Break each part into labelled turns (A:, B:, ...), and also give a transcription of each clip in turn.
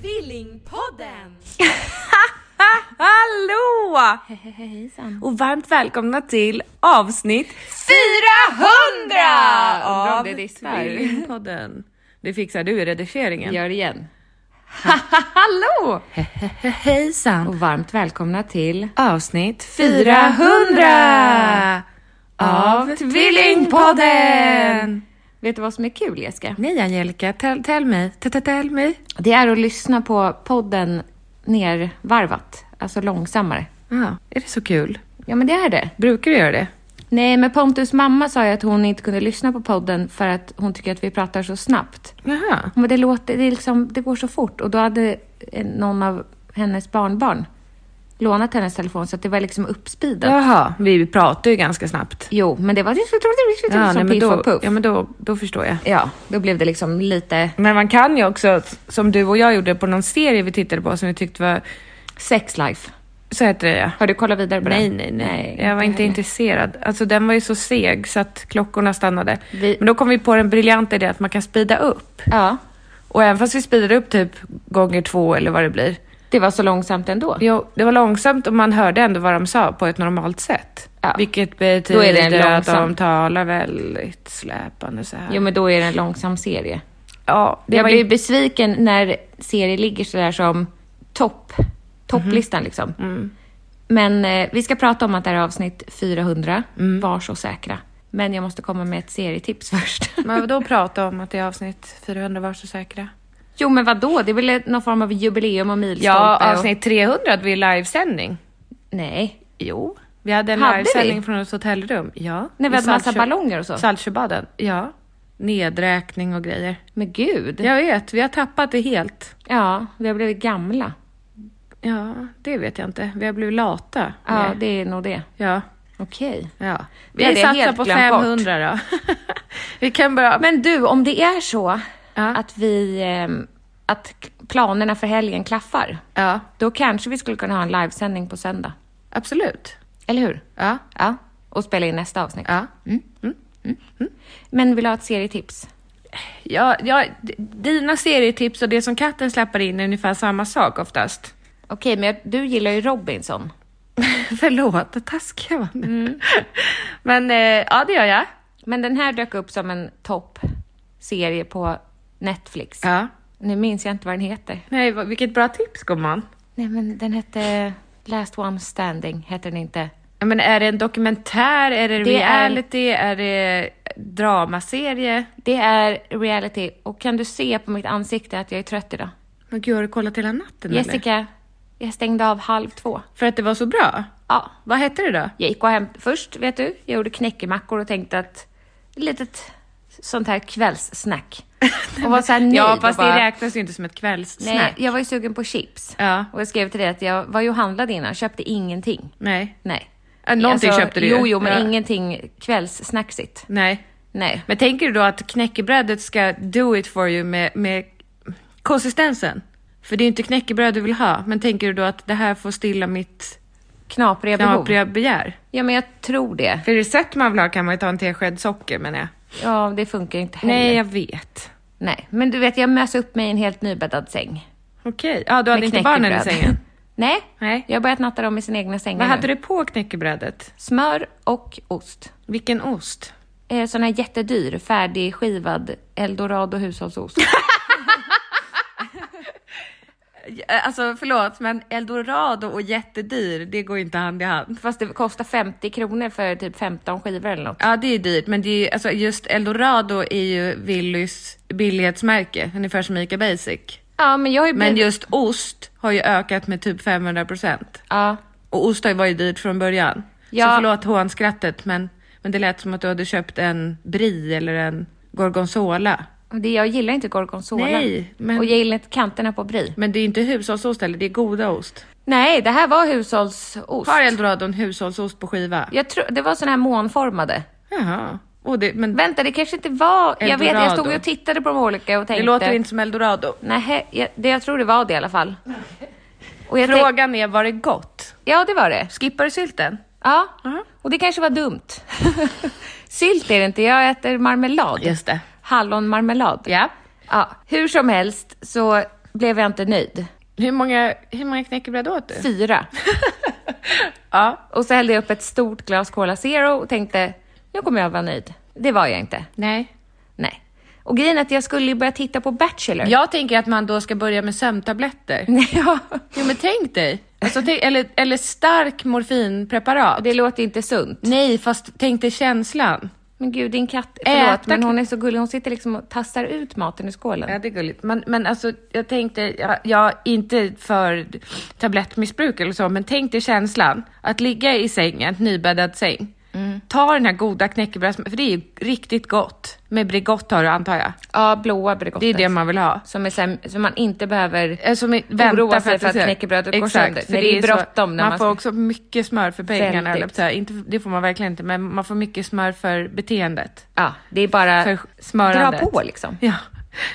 A: Tvillingpodden!
B: Hallå! Och varmt välkomna till avsnitt 400
A: Undrar om
B: av
A: det är ditt verk.
B: Tvillingpodden. Det fixar du i redigeringen.
A: Gör det igen.
B: Hallå! Hejsan!
A: Och varmt välkomna till
B: Avsnitt
A: 400
B: 400 av Tvillingpodden!
A: Vet du vad som är kul Jessica?
B: Nej Angelica, tell, tell me, T- t- tell me.
A: Det är att lyssna på podden nervarvat, alltså långsammare.
B: Ja, är det så kul?
A: Ja men det är det.
B: Brukar du göra det?
A: Nej men Pontus mamma sa ju att hon inte kunde lyssna på podden för att hon tycker att vi pratar så snabbt.
B: Jaha.
A: Hon bara, det, låter, det, är liksom, det går så fort. Och då hade eh, någon av hennes barnbarn lånat hennes telefon så att det var liksom uppspeedat.
B: Jaha, vi pratar ju ganska snabbt.
A: Jo, men det var
B: Ja,
A: som
B: nej, men
A: piff
B: då,
A: och puff.
B: ja, men då, då förstår jag.
A: Ja, då blev det liksom lite
B: Men man kan ju också, som du och jag gjorde på någon serie vi tittade på som vi tyckte var,
A: sex life.
B: så heter det ja.
A: Har du kollat vidare på
B: Nej,
A: den?
B: nej, nej. Jag var inte intresserad. Alltså den var ju så seg så att klockorna stannade.
A: Vi-
B: Men då kom vi på den briljanta idén att man kan speeda upp.
A: Ja,
B: Och även fast vi speedade upp typ gånger två eller vad det blir.
A: det var så långsamt ändå.
B: Jo, det var långsamt och man hörde ändå vad de sa på ett normalt sätt.
A: Ja.
B: Vilket
A: Då är det
B: betyder
A: en
B: att de
A: långsam.
B: talar väldigt släpande så här.
A: Jo, men då är det en långsam serie.
B: ja, det
A: jag
B: var
A: blir
B: ju...
A: besviken när serier ligger så där som topp,
B: Mhm.
A: topplistan liksom.
B: Mm.
A: Men eh, vi ska prata om att det här är avsnitt 400.
B: Mm.
A: Var så säkra. Men jag måste komma med ett serietips först.
B: Men då prata om att det är avsnitt 400 var så säkra.
A: jo, men vad då? Det är väl någon form av jubileum och milstolpe?
B: Ja,
A: och-
B: avsnitt 300 hade vi livesändning.
A: Nej.
B: Jo. Vi hade en
A: Hade
B: livesändning
A: vi?
B: från ett hotellrum. Ja.
A: När vi
B: I
A: hade massa
B: Saltsjö-
A: ballonger och så?
B: Saltsjöbaden. Ja. Nedräkning och grejer.
A: Men gud.
B: Jag vet, vi har tappat det helt.
A: Ja, vi har blivit gamla.
B: Ja, det vet jag inte. Vi har blivit lata.
A: Ja,
B: Nej.
A: det är nog det.
B: ja.
A: Okej.
B: ja.
A: Det
B: Vi
A: hade jag
B: satsar
A: helt
B: på
A: glömt bort.
B: 500 då. vi kan bara...
A: Men du, om det är så
B: Ja.
A: att vi... ehm, Att k- planerna för helgen klaffar.
B: Ja,
A: Då kanske vi skulle kunna ha en livesändning på söndag.
B: absolut.
A: Eller hur?
B: Ja.
A: Ja. Mm, Och spela in nästa avsnitt.
B: Ja.
A: mm. Men vill du ha ett serietips?
B: Ja, ja, d- dina serietips och det som katten släpper in är ungefär samma sak oftast.
A: Okej, men jag, du gillar ju Robinson.
B: Förlåt, vad taskig jag var nu. Mm. Men eh, ja, det gör jag.
A: Men den här dök upp som en toppserie på Netflix.
B: Ja.
A: Nu minns jag inte vad den heter.
B: Nej, vad- vilket bra tips gumman.
A: Nej, men den hette Last One Standing, hette den inte?
B: Ja, Men är det en dokumentär, är det,
A: Det är-
B: reality, är, det dramaserie?
A: Det är reality och kan du se på mitt ansikte att jag är trött idag?
B: Men gud, har du kollat hela natten eller?
A: Jessica, jag stängde av halv två.
B: För att det var så bra?
A: Ja,
B: Vad hette det då?
A: jag gick och hämtade först, vet du, jag gjorde knäckemackor och tänkte att litet sånt här kvällssnack. Och var såhär nöjd
B: ja,
A: och
B: fast det
A: bara-
B: räknas ju inte som ett kvällssnack.
A: Nej, jag var ju sugen på chips.
B: Ja.
A: Och jag skrev till dig att jag var ju och handlade innan, köpte ingenting.
B: Nej. Alltså,
A: Nej. Alltså,
B: Ja, någonting köpte du ju.
A: Jo, jo, men
B: Ja.
A: ingenting kvällssnacksigt.
B: Nej.
A: Nej.
B: Men tänker du då att knäckebrödet ska do it for you med, med konsistensen? För det är ju inte knäckebröd du vill ha, men tänker du då att det här får stilla mitt
A: Knapriga behov.
B: knapriga begär?
A: Ja, men jag tror det.
B: För recept man vill ha kan man ju ta en tesked socker menar jag.
A: Ja, det funkar inte heller.
B: Nej, jag vet.
A: Nej, men du vet, jag mös upp mig i en helt nybäddad säng.
B: Okej, ja du hade
A: med
B: inte barnen i
A: knäckebröd.
B: sängen?
A: Nej,
B: Nej.
A: jag har börjat natta dem i sina egna sängar
B: Vad
A: nu.
B: hade du på knäckebrödet?
A: Smör och ost.
B: Vilken ost?
A: Eh, sån här jättedyr, färdigskivad eldorado hushållsost.
B: Alltså förlåt, men eldorado och jättedyr, det går inte hand i hand.
A: Fast det kostar 50 kronor för typ 15 skivor eller något.
B: Ja, det är dyrt, men det är ju, alltså, just eldorado är ju Willys billighetsmärke, ungefär som Ica Basic.
A: Ja, men jag har ju
B: Men
A: blivit-
B: just ost har ju ökat med typ 500 procent.
A: Ja.
B: Och ost har ju varit dyrt från början.
A: Ja.
B: Så förlåt hånskrattet, men, men det lät som att du hade köpt en brie eller en gorgonzola.
A: Det, jag gillar inte gorgonzola.
B: Nej, men-
A: Och jag gillar inte kanterna på brie.
B: Men det är inte hushållsost heller, det är goda ost.
A: Nej, det här var hushållsost.
B: Har eldorado en hushållsost på skiva?
A: Jag tror, det var såna här månformade.
B: Jaha. Och det, men
A: Vänta, det kanske inte var... Jag vet, jag stod
B: Eldorado.
A: ju och tittade på de olika och tänkte...
B: det låter inte som eldorado.
A: Nej, jag, det, jag tror det var det i alla fall. Och jag tänk-
B: Frågan är, var det gott?
A: Ja, det var det.
B: Skippar du sylten?
A: Ja,
B: Mhm.
A: och det kanske var dumt. Sylt är det inte, jag äter marmelad.
B: Just det.
A: Hallonmarmelad.
B: Ja.
A: Ja, hur som helst så blev jag inte nöjd.
B: Hur många, hur många knäckebröd åt du?
A: Fyra.
B: Ja.
A: Och så hällde jag upp ett stort glas Cola Zero och tänkte, nu kommer jag vara nöjd. Det var jag inte.
B: Nej.
A: Nej. Och grejen är att jag skulle ju börja titta på Bachelor.
B: Jag tänker att man då ska börja med sömntabletter.
A: ja.
B: Jo men tänk dig, alltså, tänk, eller, eller stark morfinpreparat.
A: Det låter inte sunt.
B: Nej, fast tänk dig känslan.
A: Men gud, din katt, förlåt,
B: Äta
A: men
B: katt-
A: hon är så gullig. Hon sitter liksom och tassar ut maten ur skålen.
B: Ja, det är gulligt. Men, men alltså, jag tänkte, jag, jag inte för tablettmissbruk eller så, men tänk dig känslan. Att ligga i sängen, nybäddad säng. Ta den här goda knäckebrödsmackan, för det är ju riktigt gott. Med Bregott har du antar jag.
A: Ja, blåa Bregott.
B: Det är det man vill ha.
A: Som, är så här, som man inte behöver...
B: Eh, Som är,
A: Oroa sig för att
B: det-
A: knäckebrödet går
B: Exakt,
A: sönder.
B: för
A: Nej, det är
B: så-
A: bråttom när man
B: Man får
A: ska-
B: också mycket smör för pengarna.
A: Väldigt.
B: Eller, så här, inte, det får man verkligen inte, men man får mycket smör för beteendet.
A: Ja, det är bara...
B: För smörandet.
A: Dra på liksom.
B: Ja.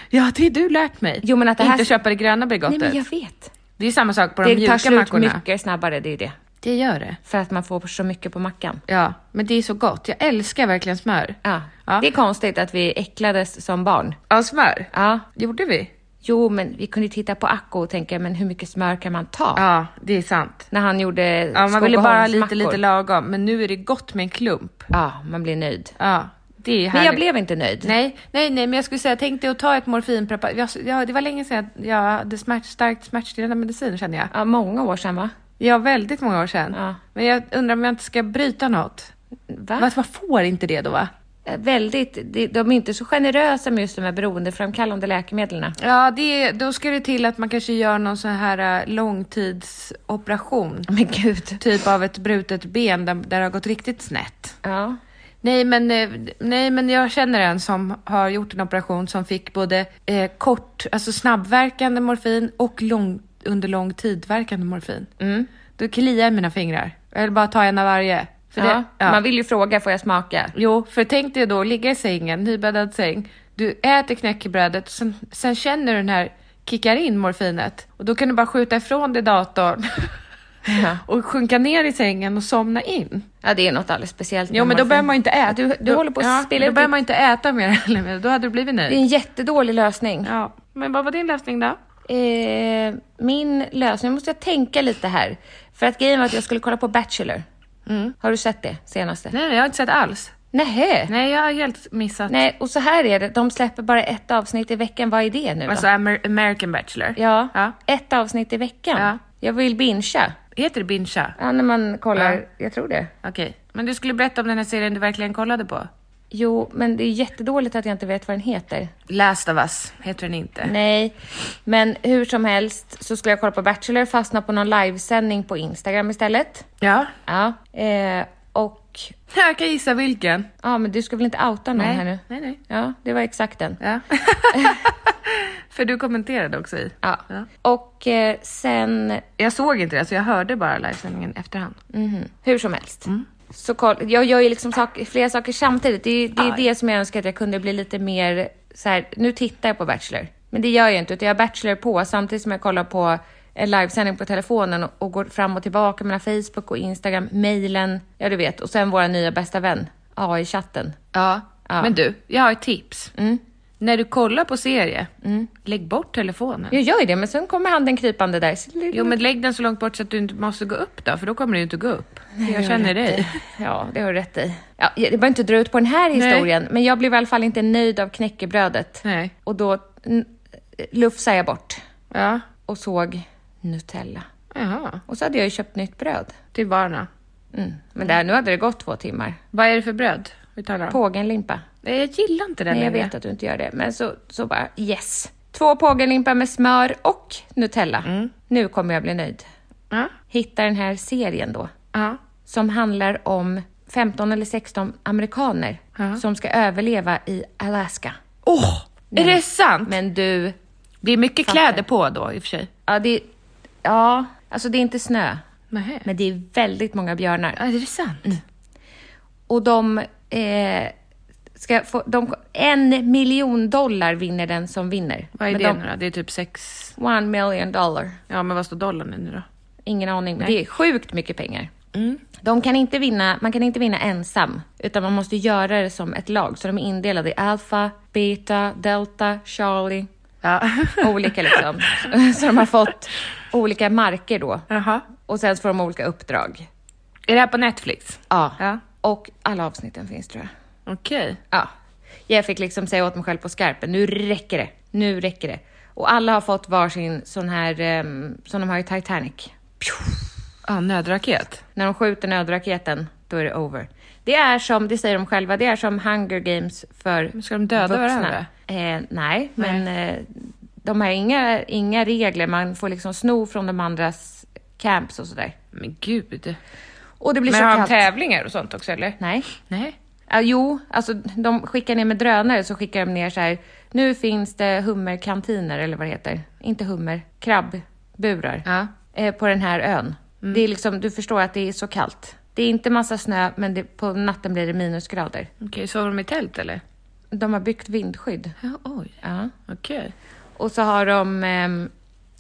B: ja, det har du lärt mig.
A: Jo, men att det här-
B: Inte köpa det gröna
A: Nej,
B: Bregottet.
A: men jag vet.
B: Det är samma sak på de
A: Det tar
B: mjuka
A: slut
B: mackorna.
A: mycket snabbare, det är det.
B: Det gör det.
A: För att man får så mycket på mackan.
B: Ja, men det är så gott. Jag älskar verkligen smör.
A: Ja.
B: Ja,
A: Det är konstigt att vi äcklades som barn.
B: ja smör.
A: Ja.
B: Gjorde vi?
A: Jo, men vi kunde ju titta på Acko och tänka, men hur mycket smör kan man ta?
B: Ja, det är sant.
A: När han gjorde
B: Ja, man ville bara ha lite,
A: Skogaholmsmackor.
B: lite lagom, men nu är det gott med en klump.
A: Ja, man blir nöjd.
B: Ja, det är
A: Men
B: härligt.
A: jag blev inte nöjd.
B: Nej, nej, nej, men jag skulle säga, tänk dig att ta ett morfinpreparat. Jag, jag, det var länge sedan jag, jag hade smärt, starkt smärtstillande medicin känner jag.
A: Ja, många år sedan va?
B: Ja, väldigt många år sedan.
A: Ja.
B: Men jag undrar om jag inte ska bryta något.
A: Va?
B: Fast man får inte det då va?
A: Eh, Väldigt, de, de är inte så generösa med just de här beroendeframkallande läkemedlen.
B: Ja, det, då ska det till att man kanske gör någon sån här eh, långtidsoperation.
A: Men gud.
B: Typ av ett brutet ben där, där det har gått riktigt snett.
A: Ja.
B: Nej men, eh, nej, men jag känner en som har gjort en operation som fick både eh, kort, alltså snabbverkande morfin och lång, under lång tid verkande morfin. Mm. Då kliar jag i mina fingrar. Jag vill bara ta en av varje. För
A: ja.
B: det, ja.
A: Man vill ju fråga, får jag smaka?
B: Jo, för tänk dig då ligga i sängen, nybäddad säng. Du äter knäckebrödet, sen, sen känner du den här kickar in morfinet och då kan du bara skjuta ifrån dig datorn
A: Ja.
B: och sjunka ner i sängen och somna in.
A: Ja, det är något alldeles speciellt.
B: Jo,
A: med
B: men då
A: morfin.
B: behöver man ju inte äta.
A: Du, du
B: Då-
A: håller på att
B: ja,
A: spela
B: Då
A: ut ditt-
B: behöver man inte äta mer heller, men då hade du blivit
A: Det är
B: nöjd.
A: en jättedålig lösning.
B: Ja, men vad var din lösning då?
A: Eh, min lösning, nu måste jag tänka lite här. För att grejen var att jag skulle kolla på Bachelor. Har du sett det senaste?
B: Mm. Nej, nej, jag har inte sett alls.
A: Nähä?
B: Nej, jag har helt missat.
A: Nej, och så här är det, de släpper bara ett avsnitt i veckan. Vad är det nu då?
B: Alltså Amer- American Bachelor.
A: ja,
B: ja.
A: ett avsnitt i veckan.
B: Ja.
A: Jag vill bingea.
B: Heter det Bincha?
A: Ja, när man kollar.
B: Ja.
A: Jag tror det.
B: Okej, men du skulle berätta om den här serien du verkligen kollade på.
A: Jo, men det är jättedåligt att jag inte vet vad den heter.
B: Last of Us heter den inte.
A: Nej, men hur som helst så skulle jag kolla på Bachelor, fastna på någon livesändning på Instagram istället.
B: Ja.
A: Ja, eh, och
B: Jag kan gissa vilken.
A: Ja, men du ska väl inte outa någon
B: Nej,
A: här nu?
B: nej, nej.
A: Ja, det var exakt den.
B: Ja. För du kommenterade också i.
A: Ja. Och eh, sen,
B: Jag såg inte det, så jag hörde bara livesändningen efterhand.
A: hur som helst. Så koll, jag gör ju liksom sak, flera saker samtidigt. Det är, det, är det som jag önskar att jag kunde bli lite mer så här, nu tittar jag på Bachelor. Men det gör jag inte, utan jag har Bachelor på samtidigt som jag kollar på en livesändning på telefonen och, och går fram och tillbaka mellan Facebook och Instagram, mejlen, ja du vet. Och sen våra nya bästa vän, AI-chatten. Mm.
B: Ja. Men du, jag har ett tips. När du kollar på serie, lägg bort telefonen.
A: Jag gör ju det, men sen kommer handen krypande där.
B: Jo, men lägg den så långt bort så att du inte måste gå upp då, för då kommer du ju inte gå upp. jag känner dig.
A: Ja, det har du rätt i. Ja, jag- det var inte dra ut på den här historien, men jag blev i alla fall inte nöjd av knäckebrödet.
B: Nej.
A: Och då n- lufsade jag bort
B: Ja.
A: och såg Nutella.
B: Jaha,
A: Och så hade jag ju köpt nytt bröd.
B: till barna.
A: Mm. Men där, nu hade det gått två timmar.
B: Vad är det för bröd vi talar om?
A: Pågenlimpa.
B: Nej, jag gillar inte den
A: Nej, jag
B: längre.
A: vet att du inte gör det, men så, så bara yes. Två pågenlimpa med smör och Nutella. Nu kommer jag bli nöjd.
B: Mm. Ja.
A: Hitta den här serien då.
B: Ja.
A: som handlar om 15 eller 16 amerikaner som ska överleva i Alaska.
B: Åh! är det sant?
A: Men du,
B: Blir mycket kläder på då i och för sig?
A: ja, det, ja alltså det är inte snö,
B: Nej.
A: men det är väldigt många björnar.
B: Ja, är det sant?
A: Mm. Och de eh, ska få, de, en miljon dollar vinner den som vinner.
B: Vad är
A: men
B: det
A: de,
B: nu då? Det är typ sex...
A: One million dollar.
B: Ja, men vad står dollarn i nu då?
A: Ingen aning, men det är sjukt mycket pengar.
B: Mm.
A: De kan inte vinna, man kan inte vinna ensam, utan man måste göra det som ett lag. Så de är indelade i alfa, beta, delta, charlie,
B: Ja.
A: olika liksom. så de har fått olika marker då.
B: Jaha.
A: Och sen så får de olika uppdrag.
B: Är det här på Netflix?
A: Ja.
B: Ja.
A: Och alla avsnitten finns tror jag.
B: Okej.
A: Ja. Jag fick liksom säga åt mig själv på skarpen, nu räcker det, nu räcker det. Och alla har fått varsin sån här, ehm, som de har i Titanic.
B: Ja, nödraket.
A: När de skjuter nödraketen, då är det over. Det är som, det säger de själva, det är som Hunger Games för
B: Men ska de döda
A: vuxna.
B: varandra?
A: Eh, nej, men eh, de har inga, inga regler. Man får liksom sno från de andras camps och sådär.
B: Men gud.
A: Och det blir
B: Men
A: så
B: har de
A: kallt.
B: tävlingar och sånt också eller?
A: nej.
B: Nej.
A: Ja, jo, alltså de skickar ner med drönare så skickar de ner så här. Nu finns det hummerkantiner eller vad det heter. Inte hummer, krabbburar.
B: Ja. Mm.
A: Eh, på den här ön. Det är liksom, du förstår att det är så kallt. Det är inte massa snö, men det, på natten blir det minusgrader.
B: Okej, sover de i tält eller?
A: De har byggt vindskydd.
B: Ja, oj.
A: Ja.
B: Okej.
A: Och så har de... ehm,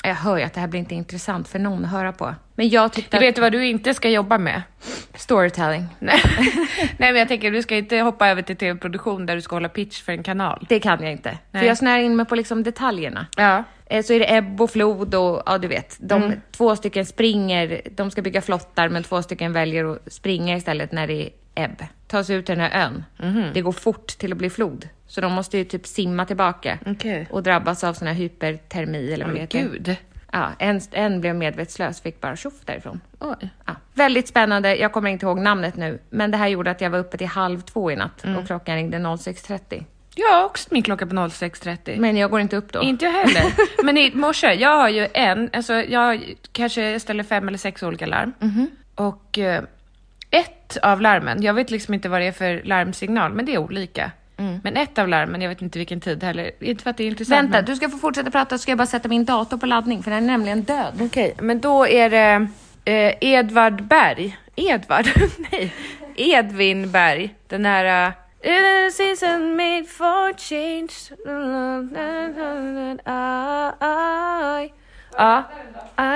A: jag hör ju att det här blir inte intressant för någon att höra på. Men jag tyckte
B: Du vet
A: att...
B: vad du inte ska jobba med?
A: Storytelling.
B: Nej. Nej, men jag tänker du ska inte hoppa över till tv-produktion där du ska hålla pitch för en kanal.
A: Det kan jag inte. För
B: Nej.
A: jag snör in mig på liksom detaljerna.
B: Ja.
A: Eh, Så är det ebb och flod och ja, du vet. De
B: Mm.
A: två stycken springer, de ska bygga flottar, men två stycken väljer att springa istället när det är ebb. Ta sig ut till den här ön.
B: Mhm.
A: Det går fort till att bli flod. Så de måste ju typ simma tillbaka
B: Okej.
A: och drabbas av sån här hypertermi eller vad det
B: Men
A: heter.
B: gud.
A: Ja, en, en blev medvetslös, fick bara tjoff därifrån.
B: Oj.
A: Ja, väldigt spännande, jag kommer inte ihåg namnet nu, men det här gjorde att jag var uppe till halv två i natt
B: Mm.
A: och klockan ringde 06.30.
B: Jag har också min klocka på 06.30.
A: Men jag går inte upp då.
B: Inte jag heller. Men i morse, jag har ju en, alltså jag kanske ställer fem eller sex olika larm.
A: Mhm.
B: Och eh, ett av larmen, jag vet liksom inte vad det är för larmsignal, men det är olika. Men ett av larmen, jag vet inte vilken tid heller, inte för att det är intressant.
A: Mm. Vänta, du ska få fortsätta prata så ska jag bara sätta min dator på laddning för den är nämligen död.
B: Okej, men då är det eh, Edvard Berg. Edvard? Nej. Edvin Berg. Den här... eh, "Eh, Season made for change. I, ja,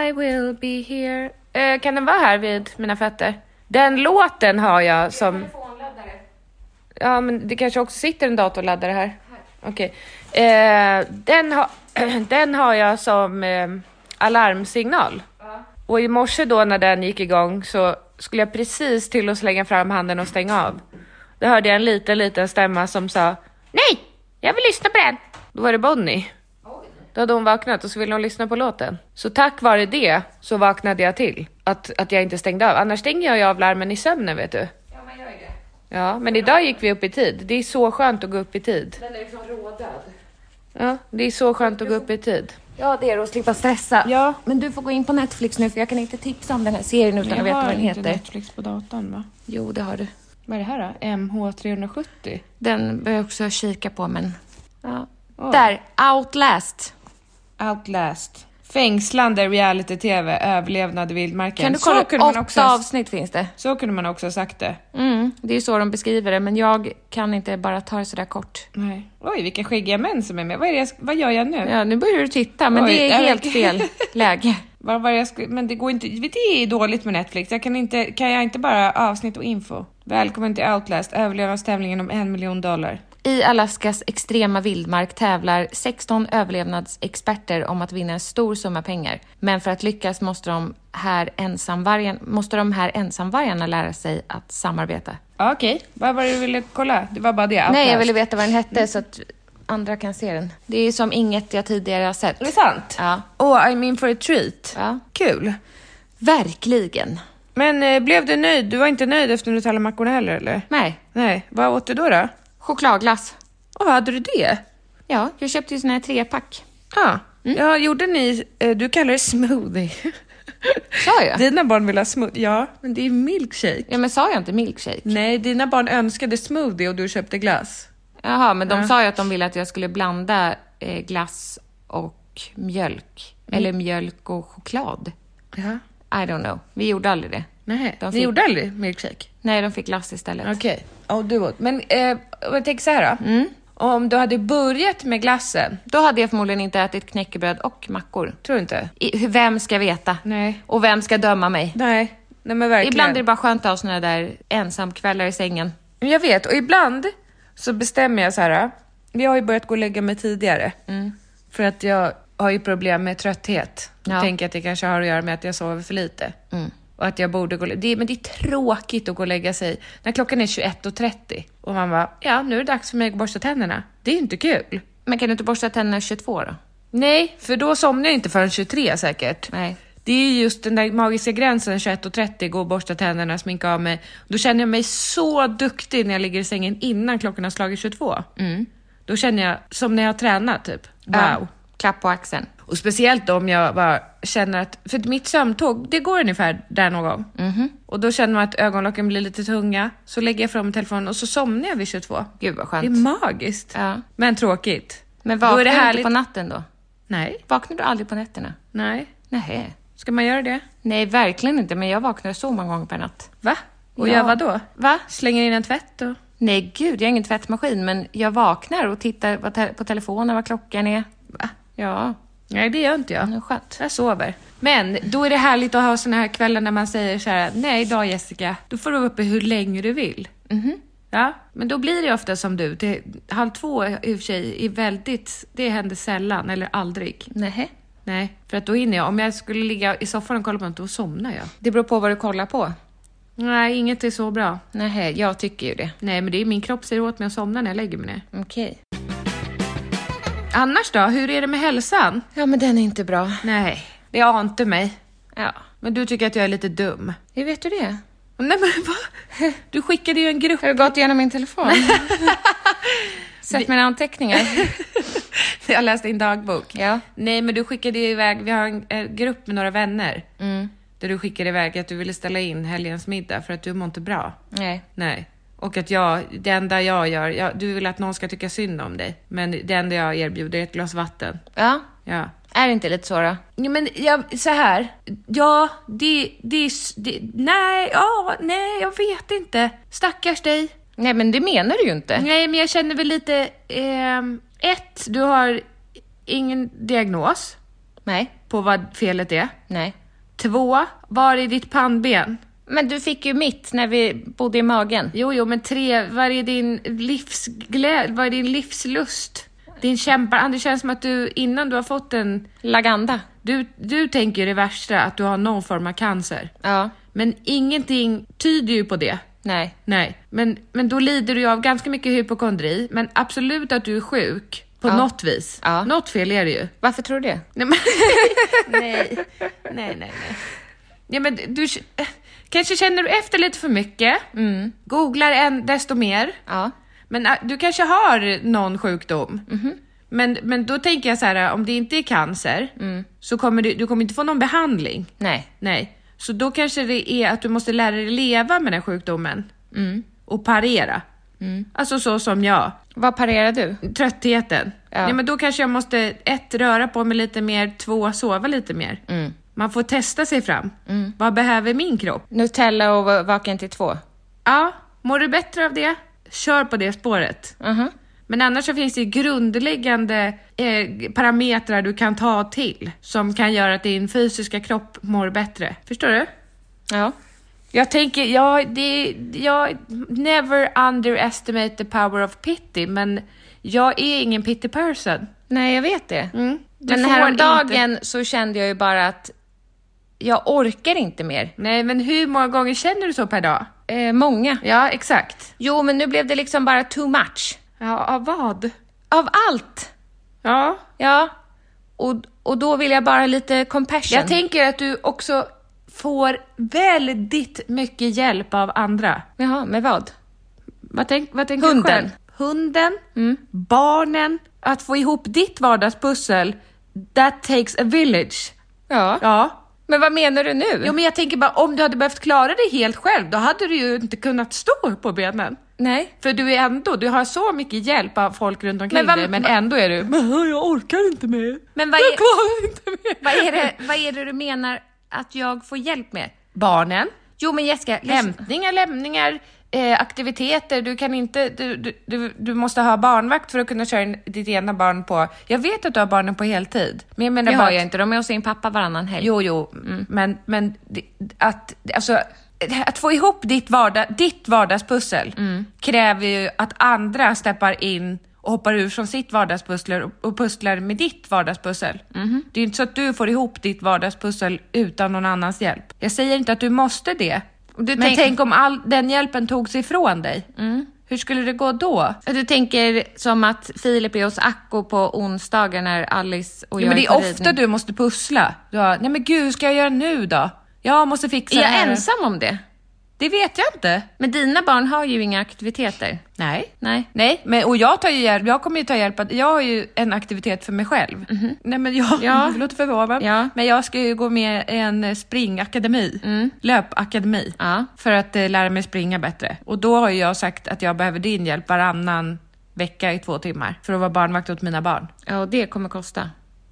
B: I will be here. Eh, kan den vara här vid mina fötter? Den låten har jag som... Ja, men det kanske också sitter en datorladdare här. Okej. Eh, den, ha, den har jag som eh, alarmsignal. Och i morse då när den gick igång så skulle jag precis till att slänga fram handen och stänga av. Då hörde jag en liten, liten stämma som sa Nej, jag vill lyssna på den. Då var det Bonnie. Då hade hon vaknat och så ville hon lyssna på låten. Så tack vare det så vaknade jag till. Att, att jag inte stängde av. Annars stänger jag ju av larmen i sömnen vet du. Ja, men idag gick vi upp i tid. Det är så skönt att gå upp i tid. Den är liksom rådöd. Ja, det är så skönt att gå upp i tid.
A: Ja, det är att slippa stressa.
B: Ja.
A: Men du får gå in på Netflix nu för jag kan inte tipsa om den här serien utan att veta vad den heter.
B: Netflix på datorn va?
A: Jo, det har du.
B: Vad är det här då? MH370?
A: Den bör jag också kika på men... Ja. Där, Outlast.
B: Outlast. Fängslande reality-tv, överlevnad i vildmarken.
A: Kan du
B: så,
A: kolla upp?
B: kunde man
A: Åtta
B: också,
A: avsnitt finns det.
B: så kunde man också ha sagt det.
A: Mm, det är ju så de beskriver det men jag kan inte bara ta det sådär kort.
B: Nej. Oj, vilka skäggiga män som är med. Vad, är det jag, sk- vad gör jag nu?
A: Ja, nu börjar du titta men
B: Oj,
A: det är
B: jag
A: helt
B: vet.
A: fel läge.
B: Vad, vad är jag sk- men det går inte... Det är dåligt med Netflix. Jag kan, inte, kan jag inte bara avsnitt och info? Välkommen till Outlast, överlevnadstävlingen om en miljon dollar.
A: I Alaskas extrema vildmark tävlar 16 överlevnadsexperter om att vinna en stor summa pengar. Men för att lyckas måste de här, ensamvargen, måste de här ensamvargarna lära sig att samarbeta.
B: Ja, Okej, vad var det du ville kolla? Det var bara det?
A: Nej, jag
B: Outlast.
A: ville veta vad den hette så att andra kan se den. Det är som inget jag tidigare har sett.
B: Är det sant?
A: Ja.
B: Oh, I'm in for a treat.
A: Ja.
B: Kul.
A: Verkligen.
B: Men eh, blev du nöjd? Du var inte nöjd efter Nutellamackorna heller eller?
A: Nej.
B: Nej. Vad åt du då? då?
A: Chokladglass.
B: Åh, hade du det?
A: Ja, jag köpte ju såna här trepack.
B: Ja.
A: Mm.
B: Ja, gjorde ni... Eh, du kallar det smoothie.
A: Sa jag?
B: Dina barn vill ha smoothie. Ja, men det är milkshake.
A: Ja, men sa jag inte milkshake?
B: Nej, dina barn önskade smoothie och du köpte glass.
A: Jaha, men de sa ju att de ville att jag skulle blanda eh, glass och mjölk.
B: Mm.
A: Eller mjölk och choklad.
B: Ja.
A: I don't know. Vi gjorde aldrig det.
B: Nej,
A: De
B: ni
A: fick-
B: gjorde aldrig milkshake?
A: Nej, de fick glass istället.
B: Okej. Ja, du åt. Men eh, om jag tänker så här då.
A: Mm.
B: Om du hade börjat med glassen,
A: Då hade jag förmodligen inte ätit knäckebröd och mackor.
B: tror du inte?
A: I, vem ska veta?
B: Nej.
A: Och vem ska döma mig?
B: Nej, nej men verkligen.
A: Ibland är det bara skönt att ha såna där ensamkvällar i sängen.
B: Men Jag vet, och ibland så bestämmer jag så här. Jag har ju börjat gå och lägga mig tidigare.
A: Mm.
B: För att jag har ju problem med trötthet.
A: Ja. Mm.
B: Jag tänker att det kanske har att göra med att jag sover för lite. Och att jag borde gå och lä- det, är- Men det är tråkigt att gå och lägga sig när klockan är 21.30 och man bara, ja nu är det dags för mig att borsta tänderna. Det är ju inte kul.
A: Men kan du inte borsta tänderna 22 då?
B: Nej, för då somnar jag inte förrän 23 säkert.
A: Nej.
B: Det är ju just den där magiska gränsen 21.30, gå och borsta tänderna, sminka av mig. Då känner jag mig så duktig när jag ligger i sängen innan klockan har slagit 22.
A: Mm.
B: Då känner jag som när jag har tränat typ. Wow.
A: Ja. Klapp på axeln.
B: Och speciellt om jag bara känner att, för mitt sömntåg, det går ungefär där någon gång.
A: Mhm.
B: Och då känner man att ögonlocken blir lite tunga, så lägger jag fram telefonen och så somnar jag vid 22.
A: Gud vad
B: Det är
A: skönt.
B: magiskt.
A: Ja.
B: Men tråkigt.
A: Men
B: Då är
A: vaknar
B: det
A: du inte
B: härligt-
A: på natten då?
B: Nej,
A: Vaknar du aldrig på nätterna?
B: nej.
A: Nej.
B: Ska man göra det?
A: Nej, verkligen inte. Men jag vaknar så många gånger per natt.
B: Va? Och
A: Ja.
B: gör vad då?
A: Va?
B: Slänger in en tvätt och...
A: Nej, gud, jag har ingen tvättmaskin, men jag vaknar och tittar vad te- på telefonen vad klockan är.
B: Va?
A: Ja,
B: Nej, det gör inte jag.
A: det är Mm, skönt.
B: Jag sover. Men då är det härligt att ha såna här kvällar när man säger så här, nej idag Jessica, då får du vara uppe hur länge du vill. Ja, men då blir det ofta som du, det, halv två i och för sig är väldigt, det händer sällan eller aldrig.
A: Nej.
B: Nej, för att då hinner jag, om jag skulle ligga i soffan och kolla på något, då somnar jag.
A: Det beror på vad du kollar på.
B: Nej, inget är så bra.
A: Nej, jag tycker ju det.
B: Nej, men det är min kropp säger åt mig att somna när jag lägger mig ner.
A: Okej.
B: Annars då, hur är det med hälsan?
A: Ja, men den är inte bra.
B: Nej, det ante mig.
A: Ja.
B: Men du tycker att jag är lite dum.
A: Hur vet du det?
B: Nej men vad? Du skickade ju en grupp.
A: Har du gått igenom min telefon? Sett mina anteckningar?
B: Jag läste din dagbok.
A: Ja.
B: Nej men du skickade ju iväg, vi har en, en grupp med några vänner. Där du skickade iväg att du ville ställa in helgens middag för att du mår inte bra.
A: Nej.
B: Nej. Och att jag, det enda jag gör, jag, du vill att någon ska tycka synd om dig. Men det enda jag erbjuder är ett glas vatten.
A: Ja.
B: Ja.
A: Är det inte lite så då?
B: Ja, men jag, så här. Ja, det, det, s- det, nej, ja, nej, jag vet inte. Stackars dig.
A: Nej, men det menar du ju inte.
B: Nej, men jag känner väl lite... ehm, ett, du har ingen diagnos
A: Nej.
B: på vad felet är.
A: Nej.
B: Två, var är ditt pannben?
A: Men du fick ju mitt när vi bodde i magen.
B: Jo, jo, men tre, var är din livsglädje? Var är din livslust? Din kämpar... Det känns som att du, innan du har fått en...
A: Laganda.
B: Du, du tänker ju det värsta, att du har någon form av cancer.
A: Ja.
B: Men ingenting tyder ju på det.
A: Nej.
B: Nej, men, men då lider du ju av ganska mycket hypokondri, men absolut att du är sjuk på något vis.
A: Ja.
B: Något fel är det ju.
A: Varför tror du det?
B: Nej, men... nej, nej, nej. nej. Ja, men du eh, kanske känner du efter lite för mycket, googlar en, desto mer.
A: Mm. Ja.
B: Men eh, du kanske har någon sjukdom.
A: Mhm.
B: Men, men då tänker jag så här, om det inte är cancer
A: Mm.
B: så kommer du, du kommer inte få någon behandling.
A: Nej.
B: Nej, så då kanske det är att du måste lära dig leva med den sjukdomen
A: Mm.
B: och parera. Alltså så som jag,
A: Vad parerar du?
B: tröttheten.
A: Ja.
B: Nej, men då kanske jag måste ett, röra på mig lite mer, två, sova lite mer. Man får testa sig fram. Vad behöver min kropp?
A: Nutella och va- vaken till två?
B: Ja, mår du bättre av det? Kör på det spåret.
A: Mhm.
B: Men annars så finns det ju grundläggande eh, parametrar du kan ta till som kan göra att din fysiska kropp mår bättre. Förstår du?
A: Ja.
B: Jag tänker, ja, det, jag never underestimate the power of pity, men jag är ingen pity person.
A: Nej, jag vet det.
B: Mm. Du
A: Men
B: får
A: häromdagen så kände jag ju bara att jag orkar inte mer.
B: Nej, men hur många gånger känner du så per dag?
A: Eh, många.
B: Ja, exakt.
A: Jo, men nu blev det liksom bara too much.
B: Ja, av vad?
A: Av allt!
B: Ja.
A: Ja. Och, och då vill jag bara lite compassion.
B: Jag tänker att du också får väldigt mycket hjälp av andra.
A: Jaha, med vad?
B: Vad, tänk, vad tänker
A: Hunden.
B: du själv? Mm. Hunden, barnen, att få ihop ditt vardagspussel, that takes a village.
A: Ja.
B: Ja.
A: Men vad menar du nu?
B: Jo men jag tänker bara, om du hade behövt klara dig helt själv, då hade du ju inte kunnat stå upp på benen.
A: Nej.
B: För du är ändå, du har så mycket hjälp av folk runt omkring
A: Men vad-
B: dig, men
A: vad-
B: ändå är du, men jag orkar inte mer.
A: Men vad
B: jag
A: är-
B: klarar inte mer.
A: Vad är, det, vad är det du menar att jag får hjälp med?
B: Barnen,
A: Jo, men Jessica, lyssna.
B: hämtningar, lämningar, eh, aktiviteter, du kan inte, du, du, du, du måste ha barnvakt för att kunna köra in ditt ena barn på, jag vet att du har barnen på heltid, men jag menar
A: det
B: bara
A: har
B: att-
A: jag inte. De är hos sin pappa varannan helg.
B: Jo, jo,
A: Mm.
B: men, men det- att, alltså, att få ihop ditt, vardag, ditt vardagspussel
A: Mm.
B: kräver ju att andra steppar in och hoppar ur från sitt vardagspussel och, och pusslar med ditt vardagspussel.
A: Mhm.
B: Det är ju inte så att du får ihop ditt vardagspussel utan någon annans hjälp. Jag säger inte att du måste det, men
A: tänk- Mm.
B: tänk, om all den hjälpen togs ifrån dig. Hur skulle det gå då?
A: Du tänker som att Filip är hos Acko på onsdagar när Alice och
B: Jo,
A: jag
B: men det
A: på
B: är ofta
A: ridning.
B: du måste pussla. Du har, nej men gud, hur ska jag göra nu då? Jag måste fixa
A: Är
B: det
A: jag
B: här."
A: ensam om det?
B: Det vet jag inte.
A: Men dina barn har ju inga aktiviteter.
B: Nej.
A: Nej.
B: Nej, men, och jag, tar ju hjälp, jag kommer ju ta hjälp, att- jag har ju en aktivitet för mig själv. Nej men jag,
A: Mhm. Ja.
B: det låter förvånad,
A: Ja.
B: men jag ska ju gå med i en eh, springakademi, löpakademi,
A: Mm. Ja.
B: för att eh, lära mig springa bättre. Och då har ju jag sagt att jag behöver din hjälp varannan vecka i två timmar för att vara barnvakt åt mina barn.
A: Ja, och det kommer kosta.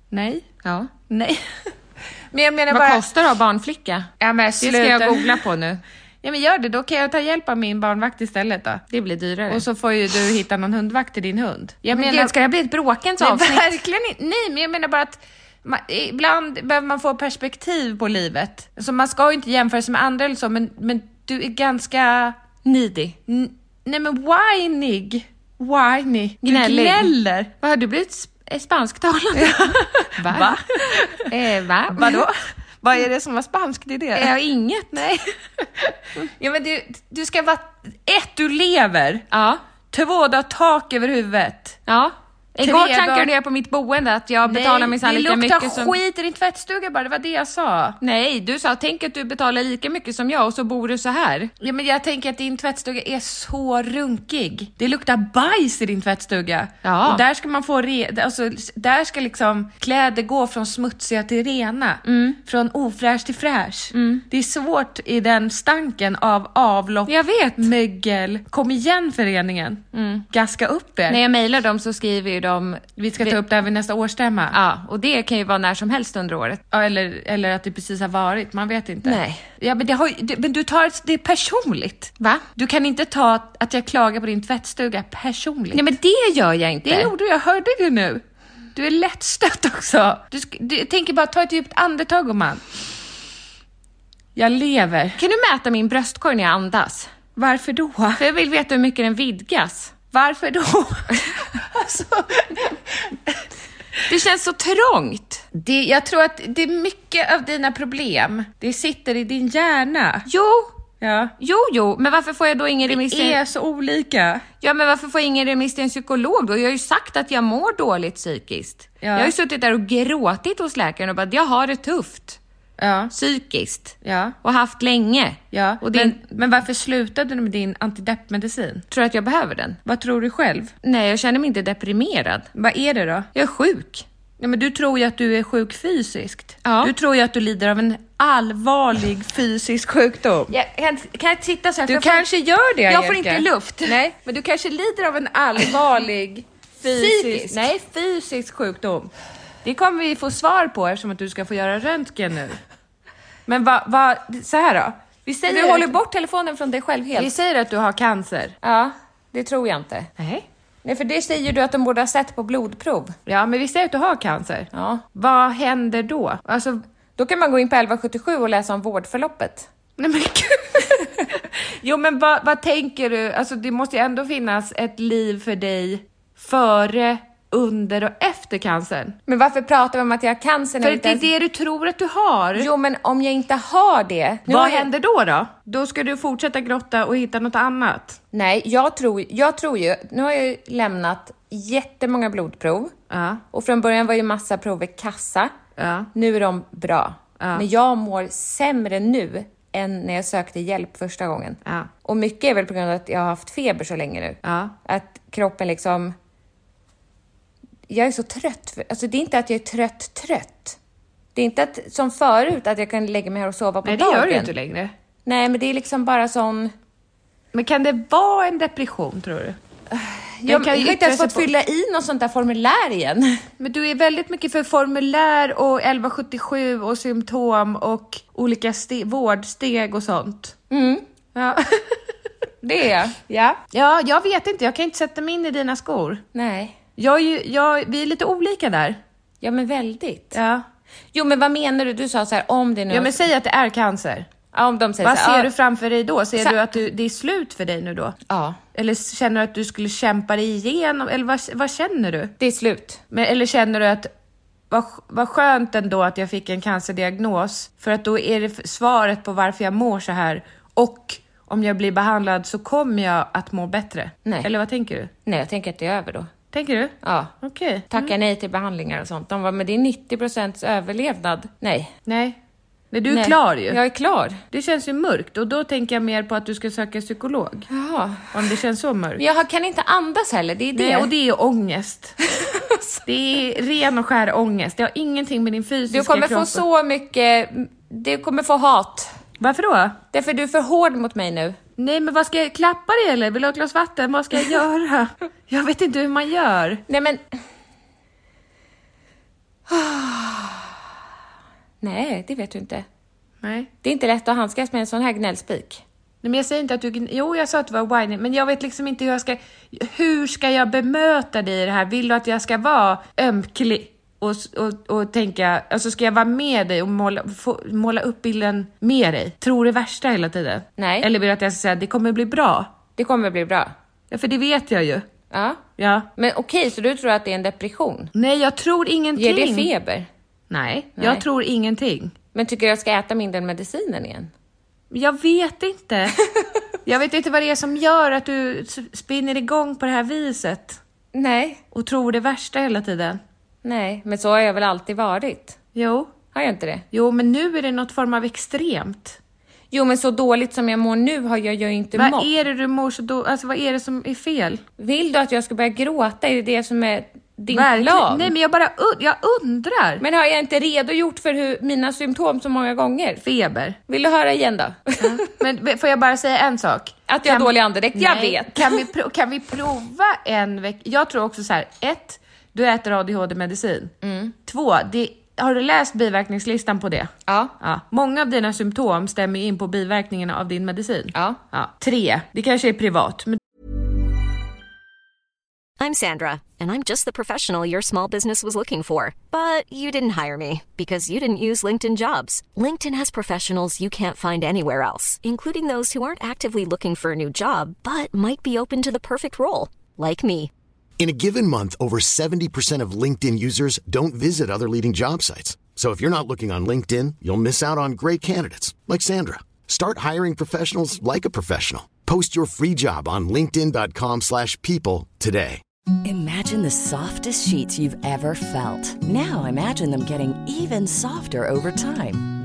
B: Nej.
A: Ja.
B: Nej. men jag menar
A: Vad
B: bara...
A: kostar det att ha barnflicka?
B: Ja, men
A: Det ska jag
B: sluta.
A: googla på nu.
B: Ja men gör det, då kan jag ta hjälp av min barnvakt istället då.
A: Det blir dyrare.
B: Och så får ju du hitta någon hundvakt till din hund. Jag
A: men gud, ska det här bli ett bråkens
B: Nej,
A: avsnitt?
B: verkligen inte. Nej, men jag menar bara att man, ibland behöver man få perspektiv på livet. Så man ska ju inte jämföra sig med andra eller så, men, men du är ganska...
A: Needy.
B: N- nej men whinig. Whiny. Du
A: Gnällig.
B: gnäller.
A: Vad har du blivit sp- eh, spansktalande? va?
B: Va?
A: Eh, va?
B: Vadå? Vad är det som var spanskt i
A: Eh,
B: det?
A: ja, inget. Nej.
B: Ja, men du, du ska vara... Ett, du lever.
A: Ja.
B: Två, du har tak över huvudet.
A: Ja. Igår
B: Tre
A: klankade
B: dagar-
A: jag på mitt boende att jag betalar minsann
B: det
A: lika
B: luktar
A: mycket som...
B: skit i din tvättstuga bara, det var det jag sa.
A: Nej, du sa tänk att du betalar lika mycket som jag och så bor du så här.
B: Ja, men jag tänker att din tvättstuga är så runkig. Det luktar bajs i din tvättstuga.
A: Ja.
B: Och där ska man få re- alltså, s- där ska liksom kläder gå från smutsiga till rena.
A: Mm.
B: Från ofräsch till fräsch. Det är svårt i den stanken av avlopp,
A: Jag vet. Mm.
B: mögel. Kom igen föreningen. Gaska upp er.
A: När jag mejlar dem så skriver ju de...
B: Vi ska ta upp det här vid nästa årsstämma.
A: Ja, och det kan ju vara när som helst under året.
B: Ja, eller, eller att det precis har varit, man vet inte.
A: Nej.
B: Ja, men, det har, ju- det, men du tar ett- det är personligt.
A: Va?
B: Du kan inte ta att jag klagar på din tvättstuga personligt.
A: Nej, men det gör jag inte.
B: det gjorde du, jag hörde det nu. Du är lättstött också. Du, sk- du jag tänker bara ta ett djupt andetag gumman. Jag lever.
A: Kan du mäta min bröstkorg när jag andas?
B: Varför då?
A: För jag vill veta hur mycket den vidgas.
B: Varför då? alltså,
A: Det känns så trångt.
B: det, jag tror att det är mycket av dina problem, det sitter i din hjärna.
A: Jo,
B: Ja.
A: jo, jo, men varför får jag då ingen remiss
B: Vi
A: till...
B: är så olika.
A: Ja, men varför får jag ingen remiss till en psykolog då? Jag har ju sagt att jag mår dåligt psykiskt.
B: Ja.
A: Jag har ju suttit där och gråtit hos läkaren och bara, jag har det tufft
B: Ja.
A: psykiskt
B: Ja.
A: och haft länge.
B: Ja,
A: Och det
B: men, men varför slutade du med din antideppmedicin?
A: tror jag att jag behöver den.
B: Vad tror du själv?
A: Nej, jag känner mig inte deprimerad.
B: Vad är det då?
A: Jag är sjuk.
B: Ja, men du tror ju att du är sjuk fysiskt.
A: Ja.
B: Du tror ju att du lider av en allvarlig fysisk sjukdom.
A: Jag kan, kan jag sitta så
B: Du
A: här? för jag får-
B: kanske gör det,
A: Jag får
B: Angelica.
A: inte luft.
B: Nej, men du kanske lider av en allvarlig fysisk,
A: Psykisk.
B: Nej, fysisk sjukdom. Det kommer vi få svar på eftersom att du ska få göra röntgen nu. Men vad, va, så här då. Vi säger,
A: Du håller bort telefonen från dig själv
B: vi
A: helt.
B: säger att du har cancer.
A: Ja, det tror jag inte.
B: Nej.
A: Nej, för det säger du att de borde ha sett på blodprov.
B: Ja, men vi säger att du har cancer.
A: Ja.
B: Vad händer då? Alltså,
A: Då kan man gå in på 1177 och läsa om vårdförloppet.
B: nej men gud. Jo, men vad, vad tänker du? Alltså, det måste ju ändå finnas ett liv för dig före, under och efter cancern.
A: Men varför pratar vi om att jag har cancer när
B: För
A: vi
B: det är det du tror att du har.
A: Jo, men om jag inte har det. nu
B: vad
A: har jag-
B: händer då då? Då ska du fortsätta grotta och hitta något annat.
A: Nej, jag tror, jag tror ju... Nu har jag ju lämnat jättemånga blodprov.
B: Ja.
A: Och från början var ju massa prover kassa.
B: Ja.
A: Nu är de bra. Men jag mår sämre nu än när jag sökte hjälp första gången.
B: Ja.
A: Och mycket är väl på grund av att jag har haft feber så länge nu.
B: Ja.
A: Att kroppen liksom... Jag är så trött. För, alltså det är inte att jag är trött, trött. Det är inte att, som förut att jag kan lägga mig här och sova på
B: Nej, det
A: dagen.
B: gör du ju inte längre.
A: Nej, men det är liksom bara sån...
B: Men kan det vara en depression tror du?
A: Jag,
B: kan
A: jag
B: ju
A: har inte ens
B: yttra sig
A: fått
B: på-
A: fylla i något sånt där formulär igen.
B: Men du är väldigt mycket för formulär och 1177 och symptom och olika ste- vårdsteg och sånt. Ja.
A: Det är jag.
B: ja. Ja, jag vet inte. Jag kan inte sätta mig in i dina skor.
A: Nej.
B: Jag är ju, jag, vi är lite olika där.
A: Ja, men väldigt.
B: Ja.
A: Jo, men vad menar du? Du sa så här, om det nu...
B: ja, men säg att det är cancer.
A: Ja, om de säger
B: Vad
A: så här,
B: ser
A: ja,
B: du framför dig då? Ser
A: Så-
B: du att du, det är slut för dig nu då?
A: Ja,
B: Eller känner du att du skulle kämpa dig igenom? Eller vad, vad känner du?
A: det är slut.
B: Men, eller känner du att vad, sk- vad skönt ändå att jag fick en cancerdiagnos för att då är det f- svaret på varför jag mår så här och om jag blir behandlad så kommer jag att må bättre.
A: Nej.
B: Eller vad tänker du?
A: Nej, jag tänker att det är över då.
B: Tänker du?
A: Ja.
B: Okej.
A: Tacka nej till behandlingar och sånt. De var men det är 90 överlevnad. Nej.
B: Nej. Men du är
A: nej.
B: klar ju.
A: Jag är klar.
B: Det känns ju mörkt och då tänker jag mer på att du ska söka psykolog.
A: Jaha.
B: Om det känns så mörkt.
A: Men Jag kan inte andas heller, det är det.
B: Nej, och det är ångest. det är ren och skär ångest. Det har ingenting med din fysiska
A: du kommer
B: kropp
A: få så mycket... Du kommer få hat.
B: Varför då?
A: Därför du är för hård mot mig nu.
B: Nej men vad ska jag klappa dig eller? Vill du ha ett glas vatten? Vad ska jag göra? Jag vet inte hur man gör.
A: Nej men... Nej, det vet du inte.
B: Nej. Nej
A: Det är inte lätt att handskas med en sån här gnällspik.
B: men jag säger inte att du... gn- Jo jag sa att du var whiny, men jag vet liksom inte hur jag ska... Hur ska jag bemöta dig i det här? Vill du att jag ska vara ömklig? Och, s- och, och tänka, alltså ska jag vara med dig och måla, få, måla upp bilden med dig? Tror det värsta hela tiden?
A: Nej.
B: Eller vill du att jag ska säga att det kommer bli bra?
A: Det kommer bli bra.
B: Ja, för det vet jag ju.
A: Ja.
B: Ja.
A: Men okej, så du tror att det är en depression?
B: Nej, jag tror ingenting.
A: Ger det feber?
B: Nej,
A: Nej.
B: jag tror ingenting.
A: Men tycker du jag ska äta mindre medicinen igen?
B: Jag vet inte. Jag vet inte vad det är som gör att du s- spinner igång på det här viset
A: Nej.
B: och tror det värsta hela tiden.
A: Nej, men så har jag väl alltid varit?
B: Jo,
A: Har jag inte det?
B: jo, men nu är det något form av extremt.
A: Jo, men så dåligt som jag mår nu har jag ju inte
B: Vad
A: mått.
B: är det du mår så då? Alltså, vad är det som är fel?
A: Vill du att jag ska börja gråta? Är det det som är din
B: Verkligen.
A: plan?
B: Nej, men jag bara und- jag undrar.
A: Men har jag inte redogjort för hur mina symptom så många gånger?
B: Feber.
A: Vill du höra igen då?
B: Men får jag bara säga en sak?
A: Att jag har dålig andedräkt? Jag
B: Nej,
A: vet.
B: Kan vi, pro- kan vi prova en vecka? Jag tror också så här, ett, du äter ADHD-medicin.
A: Mm.
B: Två, det, har du läst biverkningslistan på det?
A: Ja.
B: ja. Många av dina symptom stämmer ju in på biverkningarna av din medicin.
A: Ja.
B: Tre, det kanske är privat, men
C: I'm Sandra, and I'm just the professional your small business was looking for. But you didn't hire me because you didn't use LinkedIn jobs. LinkedIn has professionals you can't find anywhere else, including those who aren't actively looking for a new job but might be open to the perfect role, like me.
D: In a given month, over 70% of LinkedIn users don't visit other leading job sites. So if you're not looking on LinkedIn, you'll miss out on great candidates like Sandra. Start hiring professionals like a professional. Post your free job on linkedin.com/people slash people today.
E: Imagine the softest sheets you've ever felt. Now imagine them getting even softer over time.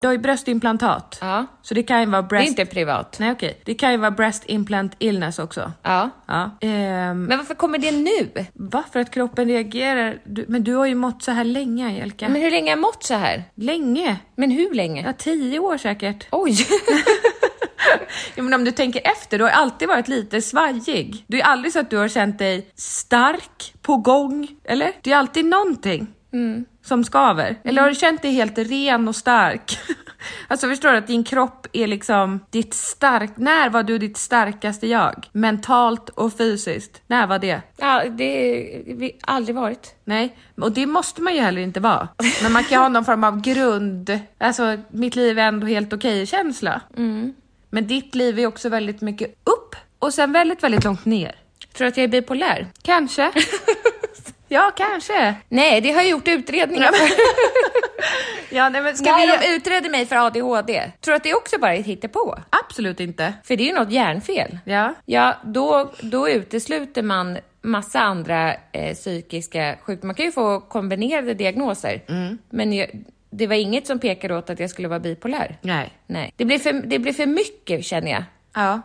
B: du har ju bröstimplantat.
A: Ja.
B: Så det kan ju vara
A: Det är
B: breast...
A: inte privat.
B: Nej okej, det kan ju vara breast implant illness också.
A: Ja.
B: Ja. Ehm,
A: Men varför kommer det nu?
B: va? För att kroppen reagerar? Du, men du har ju mått så här länge Angelica.
A: Men hur länge har jag mått så här?
B: Länge?
A: Men hur länge?
B: Ja, tio år säkert.
A: Oj!
B: Ja, men om du tänker efter, du har alltid varit lite svajig. Du är aldrig så att du har känt dig stark, på gång, eller? Det är alltid någonting som skaver. Eller har du känt dig helt ren och stark? alltså förstår du att din kropp är liksom ditt stark... När var du ditt starkaste jag? Mentalt och fysiskt. När var det?
A: Ja, det har aldrig varit.
B: Nej, och det måste man ju heller inte vara. Men man kan ha någon form av grund, alltså mitt liv är ändå helt okej-känsla. Men ditt liv är också väldigt mycket upp och sen väldigt, väldigt långt ner.
A: Tror du att jag är bipolär?
B: Kanske. ja, kanske.
A: Nej, det har jag gjort utredningar för.
B: Ja, nej, men ska
A: När
B: vi...
A: de utredde mig för ADHD, tror du att det också bara är ett hittepå?
B: Absolut inte.
A: För det är ju något hjärnfel.
B: Ja.
A: Ja, då, då utesluter man massa andra eh, psykiska sjukdomar. Man kan ju få kombinerade diagnoser.
B: Mm.
A: Men jag, det var inget som pekade åt att jag skulle vara bipolär.
B: Nej.
A: Nej. Det blir för, det blir för mycket känner jag.
B: Ja.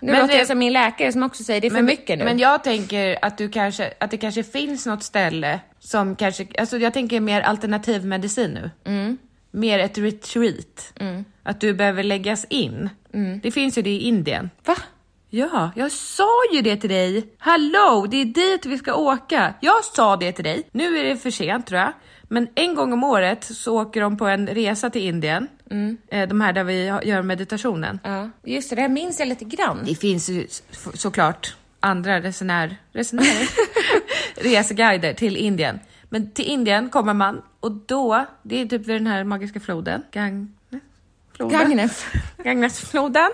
A: Nu
B: Men
A: låter
B: det-
A: jag som min läkare som också säger det är för mycket nu.
B: Men jag tänker att, du kanske, att det kanske finns något ställe som kanske, alltså jag tänker mer alternativ medicin nu.
A: Mm.
B: Mer ett retreat. Att du behöver läggas in. Det finns ju det i Indien.
A: Mm. Va?
B: Ja, jag sa ju det till dig. Hallå, det är dit vi ska åka. Jag sa det till dig. Nu är det för sent tror jag. Men en gång om året så åker de på en resa till Indien.
A: Mm.
B: Eh, De här där vi ha- gör meditationen.
A: Ja, just det, det här minns jag lite grann.
B: Det finns ju s- f- såklart andra resenär, resenärer, reseguider till Indien. Men till Indien kommer man och då, det är typ vid den här magiska floden, Gang... floden.
A: Gagnef.
B: Gagnefsfloden.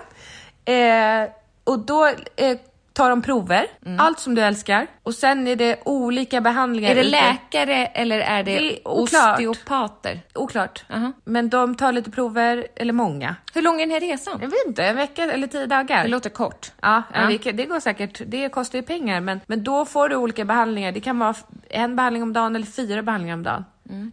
B: Eh, och då eh, tar de prover, allt som du älskar. Och sen är det olika behandlingar.
A: Mm. Är det
B: ute.
A: läkare eller är det,
B: Det är oklart.
A: osteopater?
B: Oklart.
A: Aha.
B: Men de tar lite prover, eller många.
A: Hur lång är den här resan?
B: Jag vet inte, en vecka eller tio dagar.
A: Det låter kort.
B: Ja,
A: Ja.
B: ja. Det, kan- det går säkert. Det kostar ju pengar, men, men då får du olika behandlingar. Det kan vara f- en behandling om dagen eller fyra behandlingar om dagen.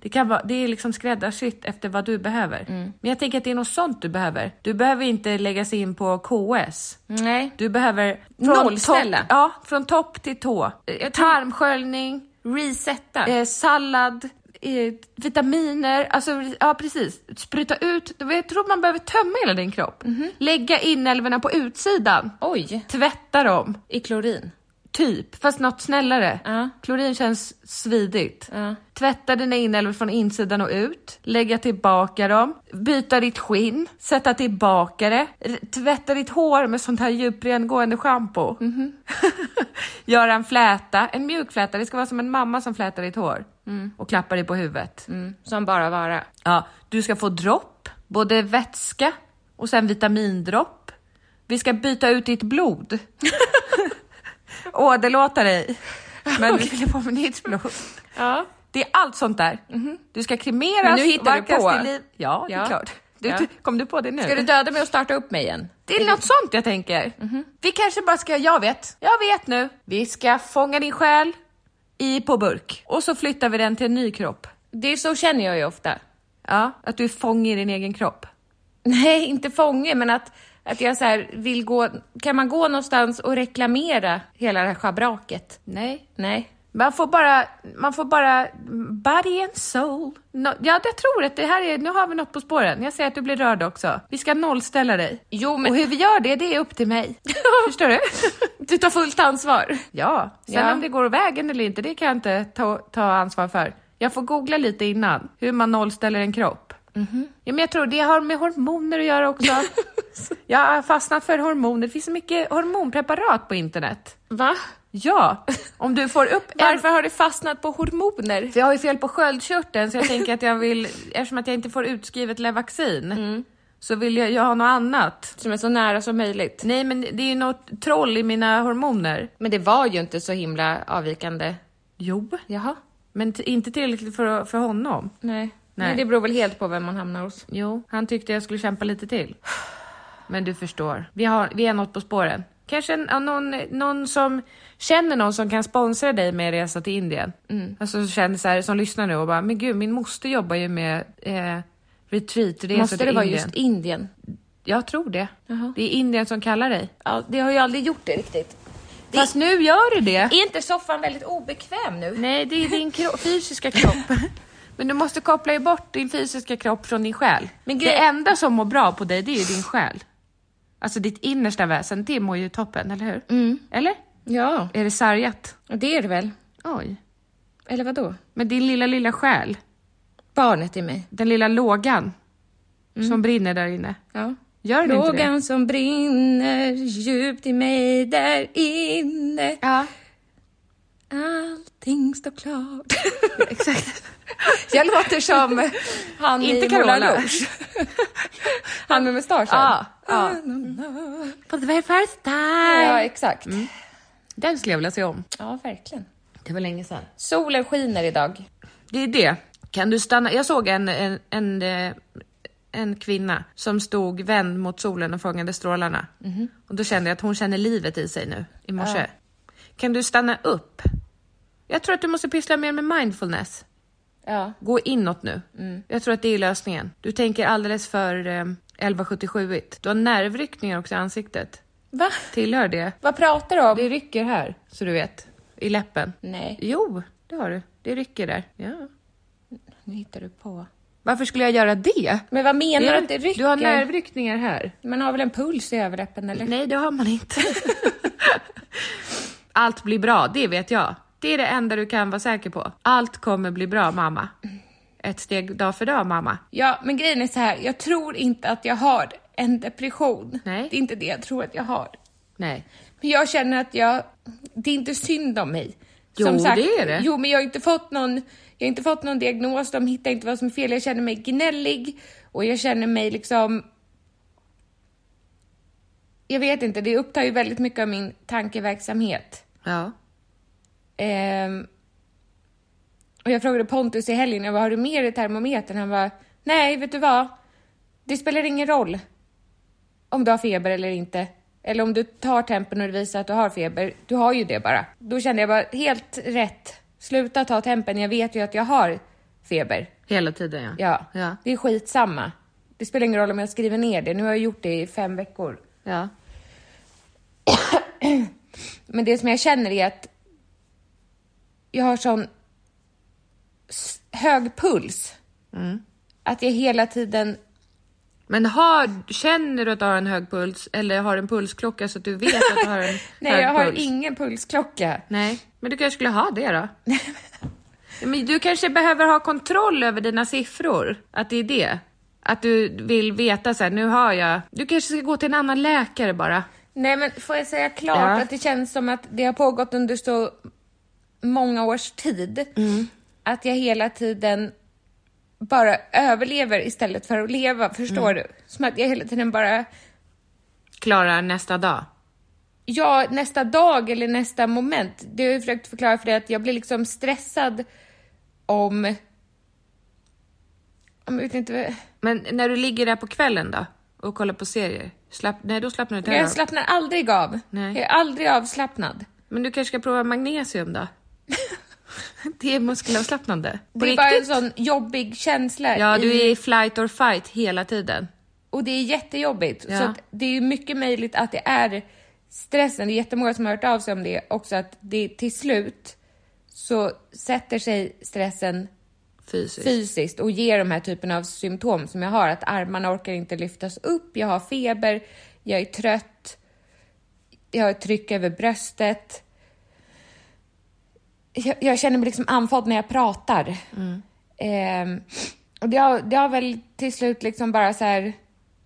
B: Det, kan vara, det är liksom skräddarsytt efter vad du behöver. Men jag tänker att det är något sånt du behöver. Du behöver inte lägga sig in på KS.
A: Nej.
B: Du behöver...
A: Nollställa.
B: Topp, ja, från topp till tå. Eh, Tarmsköljning,
A: Resetta.
B: eh, sallad, eh, vitaminer, alltså ja precis. Spruta ut, jag tror man behöver tömma hela din kropp. Lägga inälvorna på utsidan.
A: Oj,
B: Tvätta dem,
A: i klorin.
B: typ. Fast något snällare.
A: Ja.
B: Klorin känns svidigt.
A: Ja.
B: Tvätta dina inälvor från insidan och ut. Lägga tillbaka dem. Byta ditt skinn. Sätta tillbaka det. r- Tvätta ditt hår med sånt här djuprengående schampo.
A: Mhm.
B: Göra en fläta, en mjuk fläta. Det ska vara som en mamma som flätar ditt hår.
A: Mm.
B: Och klappar dig på huvudet.
A: Som bara vara.
B: Ja, du ska få dropp, både vätska och sen vitamindropp. Vi ska byta ut ditt blod. Åderlåta dig. Men vi fyller på med nytt blod.
A: Ja. Mhm.
B: Det är allt sånt där. Du ska kremeras,
A: Men nu hittar du
B: varkas
A: på.
B: till liv. Ja, det är
A: Ja.
B: klart. Du,
A: Ja.
B: Kom du på det nu?
A: Ska du döda mig och starta upp mig igen?
B: Det är något sånt jag tänker.
A: Mhm.
B: Vi kanske bara ska, jag vet, jag vet nu. Vi ska fånga din själ i på burk och så flyttar vi den till en ny kropp.
A: Det är så känner jag ju ofta.
B: Ja, att du är fånge i din egen kropp.
A: Nej, inte fånge, men att, att jag så här vill gå... Kan man gå någonstans och reklamera hela det här schabraket?
B: Nej,
A: Nej.
B: Man får bara, man får bara body and soul. No, ja, jag tror att det här är, nu har vi något på spåren. Jag ser att du blir rörd också. Vi ska nollställa dig.
A: Jo, men-
B: Och hur vi gör det, det är upp till mig. Förstår du?
A: Du tar fullt ansvar.
B: Ja, sen
A: Ja.
B: om det går vägen eller inte, det kan jag inte ta, ta ansvar för. Jag får googla lite innan, hur man nollställer en kropp.
A: Mhm.
B: Ja, men jag tror det har med hormoner att göra också. jag har fastnat för hormoner. Det finns så mycket hormonpreparat på internet.
A: Va?
B: Ja, om du får upp en
A: Varför har du fastnat på hormoner?
B: För jag har ju fel på sköldkörteln så jag tänker att jag vill, eftersom att jag inte får utskrivet Levaxin,
A: Mm.
B: så vill jag, jag ha något annat.
A: Som är så nära som möjligt.
B: Nej men det är ju något troll i mina hormoner.
A: Men det var ju inte så himla avvikande.
B: Jo.
A: Jaha. Mm.
B: Men t- inte tillräckligt för, för honom.
A: Nej. Nej.
B: Nej.
A: det beror väl helt på vem man hamnar hos.
B: Jo, han tyckte jag skulle kämpa lite till. Men du förstår, vi, har, vi är något på spåren. Kanske en, ja, någon, någon som känner någon som kan sponsra dig med en resa till Indien. Alltså som känner så här, som lyssnar nu och bara, men gud min moster jobbar ju med eh, retreatresor
A: Måste
B: till
A: det vara
B: Indien.
A: just Indien?
B: Jag tror det. Det är Indien som kallar dig.
A: Ja, det har ju aldrig gjort det riktigt. Det-
B: Fast nu gör du det.
A: Är inte soffan väldigt obekväm nu?
B: Nej, det är din kro- fysiska kropp. Men du måste koppla ju bort din fysiska kropp från din själ.
A: Men
B: Men
A: grej-
B: det enda som mår bra på dig, det är ju din själ. Alltså ditt innersta väsen, det mår ju toppen, eller hur?
A: Mm.
B: Eller?
A: Ja,
B: Är det sargat?
A: det är det väl.
B: Oj.
A: Eller vad då?
B: Men din lilla, lilla själ,
A: Barnet i mig.
B: den lilla lågan som brinner där inne.
A: Ja.
B: Gör den inte det?
A: Lågan som brinner djupt i mig där inne.
B: Ja.
A: Allting står klart. Exakt. Jag låter som han
B: Inte
A: i Moulin
B: Carola.
A: Rouge. Han med mustaschen.
B: Ja,
A: For the very first time. Ja, exakt.
B: Den skulle jag vilja se om.
A: Ja, verkligen.
B: Mm. Det var länge sedan.
A: Solen skiner idag.
B: Det är det. Kan du stanna? Jag såg en, en, en, eh, en kvinna som stod vänd mot solen och fångade strålarna.
A: Mhm.
B: Och då kände jag att hon känner livet i sig nu i morse. Kan du stanna upp? Jag tror att du måste pyssla mer med mindfulness.
A: Ja. Mm.
B: Gå inåt nu. Jag tror att det är lösningen. Du tänker alldeles för eh, 1177-igt. Du har nervryckningar också i ansiktet.
A: Va?
B: Tillhör det?
A: Vad pratar du om?
B: Det rycker här, så du vet. I läppen.
A: Nej,
B: Jo, det har du. Det rycker där. Ja.
A: nu hittar du på.
B: Varför skulle jag göra det?
A: Men vad menar du att det rycker?
B: Du har nervryckningar här.
A: Man har väl en puls i överläppen eller?
B: Nej, det har man inte. Allt blir bra, det vet jag. Det är det enda du kan vara säker på. Allt kommer bli bra, mamma. Ett steg dag för dag, mamma.
A: Ja, men grejen är så här. Jag tror inte att jag har en depression.
B: Nej.
A: Det är inte det jag tror att jag har.
B: Nej.
A: Men jag känner att jag... Det är inte synd om mig.
B: Jo, det är det.
A: Jo, men jag har inte fått någon... Jag har inte fått någon diagnos, de hittar inte vad som är fel. Jag känner mig gnällig och jag känner mig liksom... Jag vet inte, det upptar ju väldigt mycket av min tankeverksamhet.
B: Ja.
A: Ehm, och jag frågade Pontus i helgen, jag bara, har du med dig termometern? Han bara, nej, vet du vad? Det spelar ingen roll om du har feber eller inte. Eller om du tar tempen och det visar att du har feber. Du har ju det bara. Då kände jag bara, helt rätt. Sluta ta tempen, jag vet ju att jag har feber.
B: Hela tiden, ja.
A: Ja,
B: Ja.
A: det är skitsamma. Det spelar ingen roll om jag skriver ner det. Nu har jag gjort det i fem veckor.
B: ja.
A: Men det som jag känner är att jag har sån s- hög puls.
B: Mm.
A: Att jag hela tiden...
B: Men har, känner du att du har en hög puls eller har en pulsklocka så att du vet att du har en
A: Nej,
B: hög
A: jag har
B: puls?
A: ingen pulsklocka.
B: Nej, men du kanske skulle ha det då? men du kanske behöver ha kontroll över dina siffror, att det är det. Att du vill veta så här, nu har jag... Du kanske ska gå till en annan läkare bara.
A: Nej, men får jag säga klart
B: Ja.
A: att det känns som att det har pågått under så många års tid.
B: Mm.
A: Att jag hela tiden bara överlever istället för att leva.
B: Mm.
A: Förstår du? Som att jag hela tiden bara...
B: Klara nästa dag.
A: Ja, nästa dag eller nästa moment. Det har jag försökt förklara för dig att jag blir liksom stressad om... om jag vet inte,
B: Men när du ligger där på kvällen då och kollar på serier? Slapp, nej, då slappnar du inte av.
A: jag slappnar aldrig av.
B: Nej.
A: Jag är aldrig avslappnad.
B: Men du kanske ska prova magnesium då? det är muskelavslappnande. På
A: Det är bara en
B: riktigt?
A: sån Mm. jobbig känsla.
B: Ja, du
A: i-
B: är i flight or fight hela tiden.
A: Och det är jättejobbigt.
B: Ja.
A: Så att det är ju mycket möjligt att det är stressen. Det är jättemånga som har hört av sig om det också. Att det till slut så sätter sig stressen
B: Fysiskt.
A: fysiskt och ger de här typen av symptom som jag har. Att armarna orkar inte lyftas upp, jag har feber, jag är trött, jag har ett tryck över bröstet. Jag, jag känner mig liksom andfådd när jag pratar. Ehm, och det har, det har väl till slut liksom bara så här,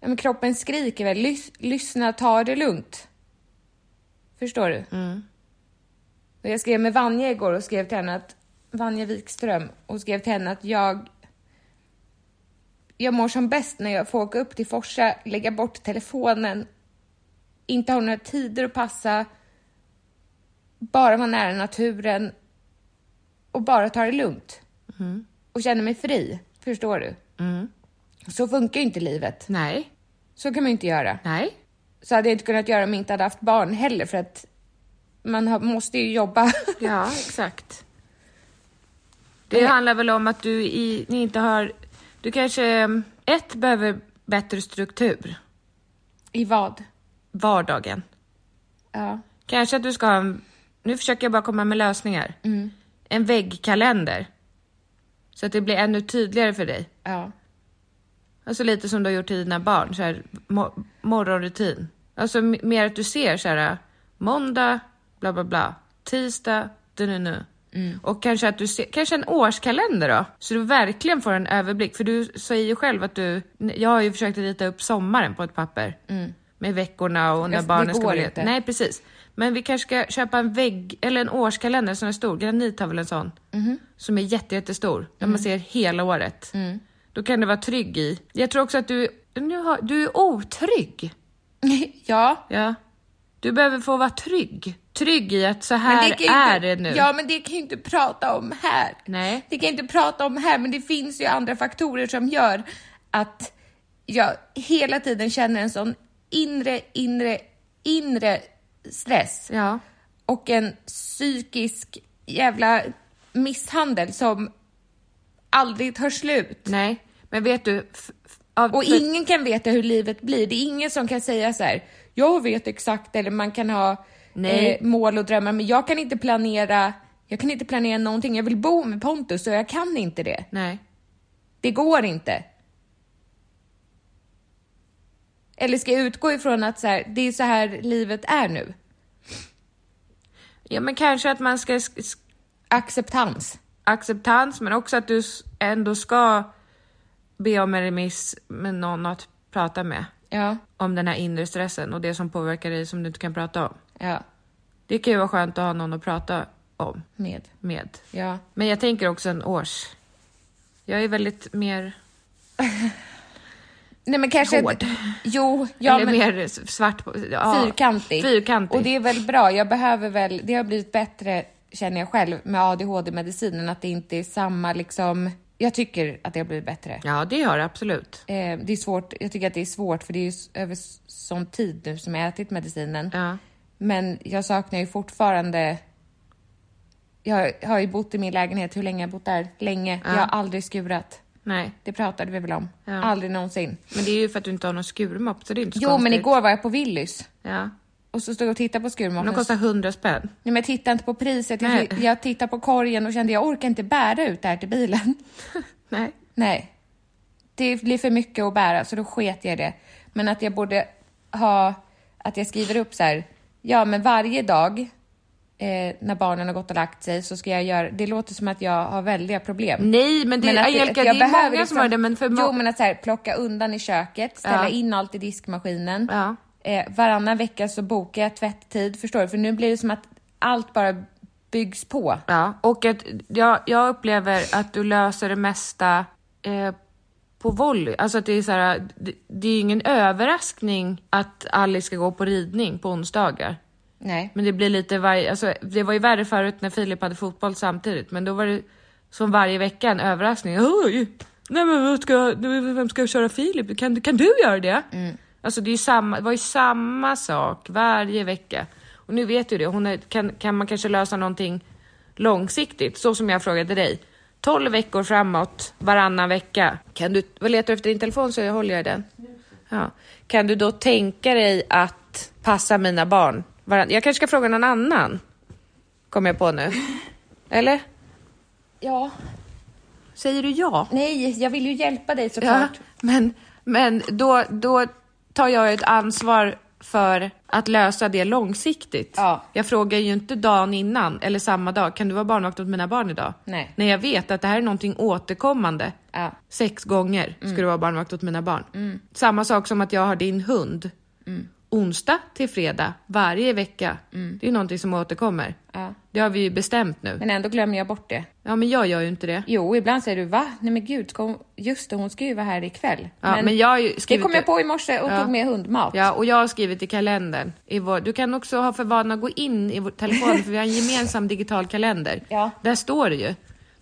A: ja, men kroppen skriker väl, "Lys- lyssna, ta det lugnt. Förstår du? Och jag skrev med Vanja igår och skrev till henne att Vanja Wikström och skrev till henne att jag jag mår som bäst när jag får åka upp till Forsa, lägga bort telefonen, inte ha några tider att passa, bara vara nära naturen och bara ta det lugnt.
B: Mm.
A: Och känna mig fri, förstår du? Så funkar ju inte livet.
B: Nej,
A: Så kan man ju inte göra
B: nej.
A: så hade jag inte kunnat göra om jag inte hade haft barn heller för att man har, måste ju jobba.
B: Ja, exakt. Det handlar väl om att du i, ni inte har... Du kanske... ehm, Ett, behöver bättre struktur.
A: I vad?
B: Vardagen.
A: Ja.
B: Kanske att du ska ha en... Nu försöker jag bara komma med lösningar.
A: Mm.
B: En väggkalender. Så att det blir ännu tydligare för dig.
A: Ja.
B: Alltså lite som du har gjort till dina barn. Så här, mo- morgonrutin. Alltså m- mer att du ser så här, måndag, bla bla bla, tisdag, du nu nu.
A: Mm.
B: Och kanske att du ser, kanske en årskalender då, så du verkligen får en överblick. För du säger ju själv att du, jag har ju försökt att rita upp sommaren på ett papper. Med veckorna och när
A: Mm. Alltså, det
B: barnen ska
A: går
B: bli...
A: inte.
B: Nej precis. Men vi kanske ska köpa en vägg, eller en årskalender som är stor. Granit har väl en sån?
A: Mhm.
B: Som är jätte, jättestor, där
A: Mm.
B: man ser hela året. Då kan du vara trygg i. Jag tror också att du, nu har, du är otrygg.
A: ja.
B: Ja. Du behöver få vara trygg. Trygg i att så
A: Men
B: här
A: kan ju
B: är
A: inte,
B: det nu.
A: Ja, men det kan ju inte prata om här.
B: Nej.
A: Det kan jag inte prata om här, men det finns ju andra faktorer som gör att jag hela tiden känner en sån inre, inre, inre stress.
B: Ja.
A: Och en psykisk jävla misshandel som aldrig tar slut.
B: Nej, men vet du... f- f- av-
A: Och
B: för-
A: ingen kan veta hur livet blir. Det är ingen som kan säga så här, jag vet exakt eller man kan ha
B: Nej.
A: eh, mål och drömmar men jag kan inte planera, jag kan inte planera någonting. Jag vill bo med Pontus och jag kan inte det.
B: Nej.
A: Det går inte. Eller ska jag utgå ifrån att så här, det är så här livet är nu?
B: Ja, men kanske att man ska sk- sk-
A: Acceptans.
B: acceptans, men också att du s- ändå ska be om en remiss med någon att prata med.
A: Ja,
B: Om den här inre stressen och det som påverkar dig som du inte kan prata om.
A: ja,
B: Det kan ju vara skönt att ha någon att prata om
A: med.
B: med.
A: Ja.
B: Men jag tänker också en års... Jag är väldigt mer...
A: Nej men kanske
B: Hård.
A: inte- Jo, ja,
B: eller
A: men,
B: mer s- svart... på- Ja,
A: Fyrkantig.
B: Fyrkantig.
A: Och det är väl bra. Jag behöver väl, det har blivit bättre känner jag själv med ADHD-medicinen att det inte är samma liksom. Jag tycker att det har blivit bättre.
B: Ja, det gör det absolut.
A: Eh, det är svårt. Jag tycker att det är svårt för det är ju s- över s- sån tid nu som jag har ätit medicinen.
B: Ja.
A: Men jag saknar ju fortfarande. Jag har ju bott i min lägenhet. Hur länge har jag bott där? Länge. Jag har aldrig skurat.
B: Nej.
A: Det pratade vi väl om.
B: Ja.
A: Aldrig någonsin.
B: Men det är ju för att du inte har någon skurmopp, så det är inte så
A: Jo,
B: konstigt.
A: men igår var jag på Willys
B: Ja.
A: och så stod jag och tittade på
B: Men de
A: skurmaten.
B: kostar 100 spänn.
A: Nej, men jag tittade inte på priset.
B: Nej.
A: Jag, jag tittade på korgen och kände jag orkar inte bära ut det här till bilen.
B: Nej.
A: Nej. Det blir för mycket att bära, så då sket jag i det. Men att jag borde ha... Att jag skriver upp så här... Ja, men varje dag eh, när barnen har gått och lagt sig så ska jag göra... Det låter som att jag har väldiga problem.
B: Nej, men det,
A: att
B: Angelica,
A: att
B: det
A: jag
B: är
A: behöver liksom-
B: många som har det, men för må-
A: Jo, men att så här, plocka undan i köket, ställa
B: Ja.
A: in allt i diskmaskinen.
B: Ja.
A: Eh, varannan vecka så bokar jag tvätttid, förstår du? För nu blir det som att allt bara byggs på.
B: Ja, och att jag, jag upplever att du löser det mesta eh, på volley. Alltså att det är så här, det, det är ju ingen överraskning att Alice ska gå på ridning på onsdagar.
A: Nej.
B: Men det blir lite varje, alltså det var ju värre förut när Filip hade fotboll samtidigt, men då var det som varje vecka en överraskning. Oj! Nej men vad ska, jag- nej, vem ska jag köra Filip? Kan, kan du göra det? Alltså det, är ju samma, det var ju samma sak varje vecka. Och nu vet du det, hon är, kan, kan man kanske lösa någonting långsiktigt? Så som jag frågade dig. 12 veckor framåt, varannan vecka. Kan du, vad letar du efter i din telefon så jag håller jag i den? Ja. Kan du då tänka dig att passa mina barn? Varann... Jag kanske ska fråga någon annan, kommer jag på nu. Eller?
A: Ja.
B: Säger du ja?
A: Nej, jag vill ju hjälpa dig
B: Ja,
A: såklart.
B: men, men då, då tar jag ett ansvar för att lösa det långsiktigt.
A: Ja.
B: Jag frågar ju inte dagen innan eller samma dag, kan du vara barnvakt åt mina barn idag?
A: Nej.
B: När jag vet att det här är någonting återkommande.
A: Ja. Mm.
B: Sex gånger ska du vara barnvakt åt mina barn. Samma sak som att jag har din hund.
A: Mm.
B: Onsdag till fredag varje vecka. Det är ju någonting som återkommer.
A: Ja.
B: Det har vi ju bestämt nu.
A: Men ändå glömmer jag bort det.
B: Ja, men jag gör ju inte det.
A: Jo, ibland säger du va? Nej men gud, ska hon... just det, hon ska ju vara här ikväll.
B: Ja, men jag har ju
A: Det
B: skrivit
A: kom jag på i morse och
B: Ja.
A: tog med hundmat.
B: Ja, och jag har skrivit i kalendern. I vår, du kan också ha för vana att gå in i vår telefon, för vi har en gemensam digital kalender.
A: Ja.
B: Där står det ju.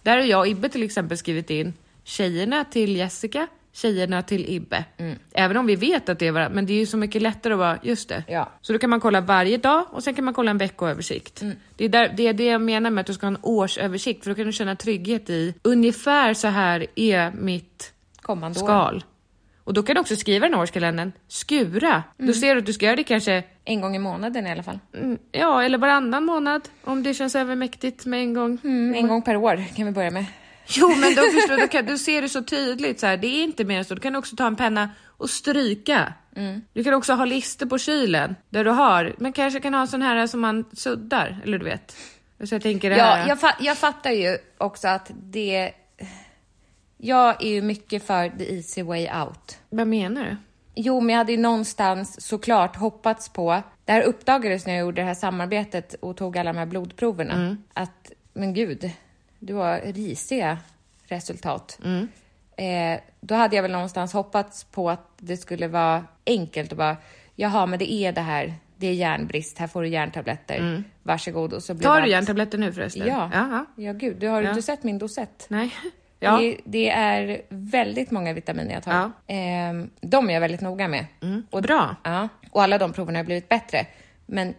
B: Där har jag och Ibbe till exempel skrivit in tjejerna till Jessica, tjejerna till Ibbe.
A: Mm.
B: Även om vi vet att det är varandra, men det är ju så mycket lättare att vara, just det.
A: Ja.
B: Så då kan man kolla varje dag och sen kan man kolla en veckoöversikt.
A: Mm.
B: Det, är där, det är det jag menar med att du ska ha en årsöversikt, för då kan du känna trygghet i ungefär så här är mitt
A: Kommande år.
B: skal. Och då kan du också skriva den här årskalendern, skura.
A: Mm.
B: Då ser du att du ska göra det kanske,
A: En gång i månaden i alla fall.
B: mm, ja eller varannan månad om det känns övermäktigt med en gång.
A: En gång per år kan vi börja med.
B: Jo men då förstår du, då, kan, då ser du så tydligt så här, det är inte mer än så. Du kan också ta en penna och stryka.
A: Mm.
B: Du kan också ha lister på kylen där du har, men kanske kan ha sån här som man suddar, eller du vet. Så jag tänker det
A: Ja,
B: här.
A: jag, fa- jag fattar ju också att det... Jag är ju mycket för the easy way out.
B: Vad menar du?
A: Jo, men jag hade ju någonstans såklart hoppats på... Det här uppdagades när jag gjorde det här samarbetet och tog alla de här blodproverna.
B: Mm.
A: Att, men gud, du har risiga resultat.
B: Mm.
A: Eh, då hade jag väl någonstans hoppats på att det skulle vara enkelt och bara, jaha, men det är det här. Det är järnbrist, här får du järntabletter. Varsågod. Och så blir
B: Tar
A: allt-
B: Mm. du järntabletter nu förresten?
A: Ja.
B: Jaha.
A: ja, gud. Du har
B: Ja.
A: inte sett min dosett?
B: Nej. Ja.
A: Det, det är väldigt många vitaminer jag tar.
B: Ja. Mm.
A: Ehm, de är jag väldigt noga med.
B: Och bra.
A: Ja. Och alla de proverna har blivit bättre. Men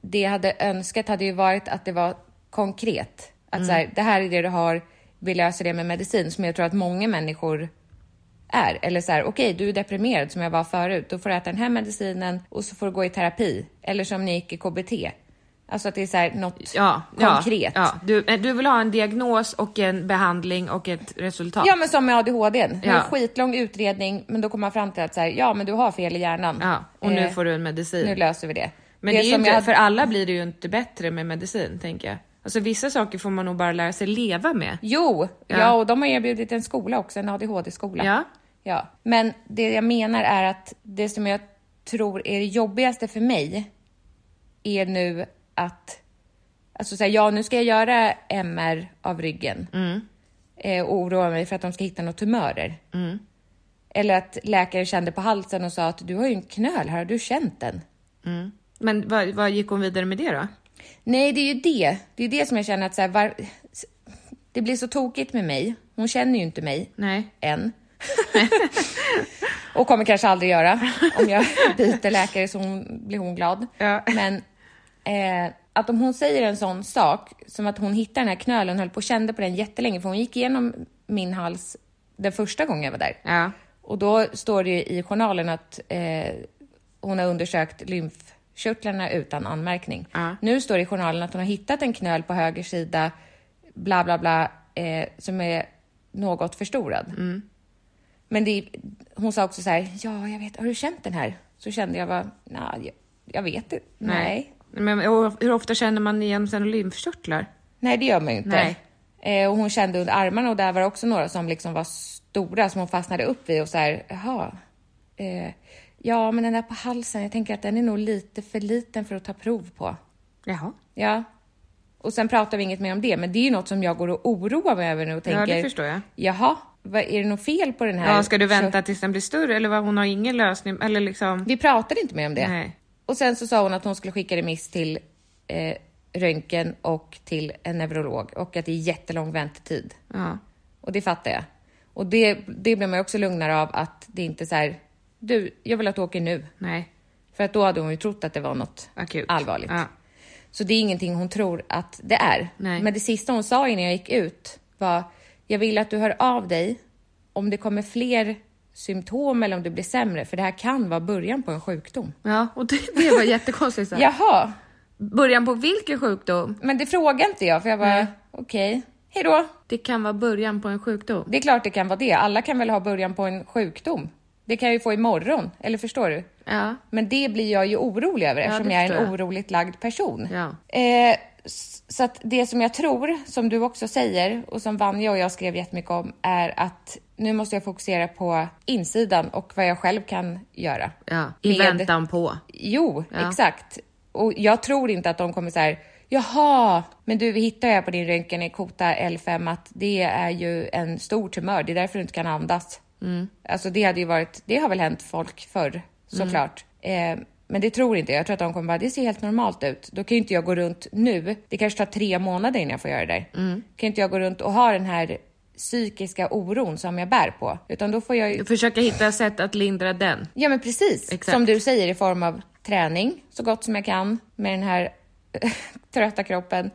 A: det jag hade önskat hade ju varit att det var konkret. Att
B: Mm.
A: så här, det här är det du har, vi löser det med medicin. Som jag tror att många människor är. Eller så här, okej, du är deprimerad som jag var förut. Då får du äta den här medicinen och så får du gå i terapi. Eller som ni gick i KBT. Alltså att det är så här, något
B: Ja, ja,
A: konkret.
B: Ja. Du, eh, du vill ha en diagnos och en behandling och ett resultat?
A: Ja men som med ADHD. Ja. Det är
B: Ja.
A: en skitlång utredning men då kommer man fram till att så här, ja men du har fel i hjärnan.
B: Ja, och nu
A: Eh,
B: får du en medicin.
A: Nu löser vi det.
B: Men det är ju
A: som
B: inte,
A: jag-
B: för alla blir det ju inte bättre med medicin, tänker jag. Alltså vissa saker får man nog bara lära sig leva med.
A: Jo, ja.
B: Ja.
A: och de har erbjudit en skola också, en ADHD-skola.
B: Ja.
A: ja. Men det jag menar är att det som jag tror är det jobbigaste för mig är nu att, alltså säga ja nu ska jag göra MR av ryggen
B: Mm.
A: eh, och oroa mig för att de ska hitta några tumörer.
B: Mm.
A: Eller att läkare kände på halsen och sa att du har ju en knöl här, har du känt den?
B: Men vad, vad gick hon vidare med det då?
A: Nej, det är ju det. Det är det som jag känner att så här, var... det blir så tokigt med mig. Hon känner ju inte mig
B: Nej.
A: än. och kommer kanske aldrig göra. Om jag byter läkare så hon, blir hon glad.
B: Ja.
A: Men eh, att om hon säger en sån sak, som att hon hittade den här knölen, höll på och kände på den jättelänge, för hon gick igenom min hals den första gången jag var där.
B: Ja.
A: Och då står det ju i journalen att eh, hon har undersökt lymfkörtlarna utan anmärkning.
B: Ja.
A: Nu står det i journalen att hon har hittat en knöl på höger sida, bla bla bla, eh, som är något förstorad. Men det, hon sa också så här, ja jag vet, har du känt den här? Så kände jag bara, nej, jag, jag vet inte. Nej.
B: Men och hur ofta känner man igen sina lymfkörtlar?
A: Nej, det gör man ju inte.
B: Nej.
A: Eh, och hon kände under armarna och där var det också några som liksom var stora som hon fastnade upp i och så här, jaha. Eh, ja, men den där på halsen, jag tänker att den är nog lite för liten för att ta prov på.
B: Jaha.
A: Ja. Och sen pratar vi inget mer om det, men det är ju något som jag går och oroar mig över nu och
B: Ja, det
A: tänker,
B: förstår jag.
A: jaha, vad, är det något fel på den här?
B: Ja, ska du
A: Så-
B: vänta tills den blir större eller vad? Hon har ingen lösning eller liksom?
A: vi pratade inte mer om det.
B: Nej.
A: Och sen så sa hon att hon skulle skicka remiss till eh, röntgen och till en neurolog och att det är jättelång väntetid.
B: Ja.
A: Och det fattar jag. Och det, det blir man ju också lugnare av att det inte är så här, du, jag vill att du åker nu.
B: Nej.
A: För att då hade hon ju trott att det var något
B: Akut.
A: allvarligt.
B: Ja.
A: Så det är ingenting hon tror att det är.
B: Nej.
A: Men det sista hon sa innan jag gick ut var, jag vill att du hör av dig om det kommer fler symptom eller om du blir sämre, för det här kan vara början på en sjukdom.
B: Ja, och det, det var jättekonstigt. Så här.
A: Jaha,
B: Alltså. Början på vilken sjukdom?
A: men det frågade inte jag för jag bara, okej, hejdå.
B: Det kan vara början på en sjukdom.
A: Det är klart det kan vara det. Alla kan väl ha början på en sjukdom. Det kan jag ju få imorgon, eller förstår du?
B: Ja.
A: Men det blir jag ju orolig över eftersom
B: det
A: jag är en
B: förstår jag.
A: oroligt lagd person.
B: Ja.
A: Eh, s- så att det som jag tror, som du också säger och som Vanja och jag skrev jättemycket om är att nu måste jag fokusera på insidan och vad jag själv kan göra.
B: ja. I
A: Med-
B: väntan på.
A: Jo,
B: Ja.
A: exakt. Och jag tror inte att de kommer så här, jaha, men du, vi hittar ju här på din röntgen i kota L5 att det är ju en stor tumör, det är därför du inte kan andas. Alltså det hade ju varit, det har väl hänt folk förr såklart. Eh, men det tror inte jag. Jag tror att de kommer bara, det ser helt normalt ut. Då kan ju inte jag gå runt nu. Det kanske tar tre månader innan jag får göra det där. Kan inte jag gå runt och ha den här psykiska oron som jag bär på. Utan då får jag ju
B: Försöka hitta sätt att lindra den.
A: Ja men precis.
B: Exakt.
A: Som du säger i form av träning så gott som jag kan med den här trötta kroppen.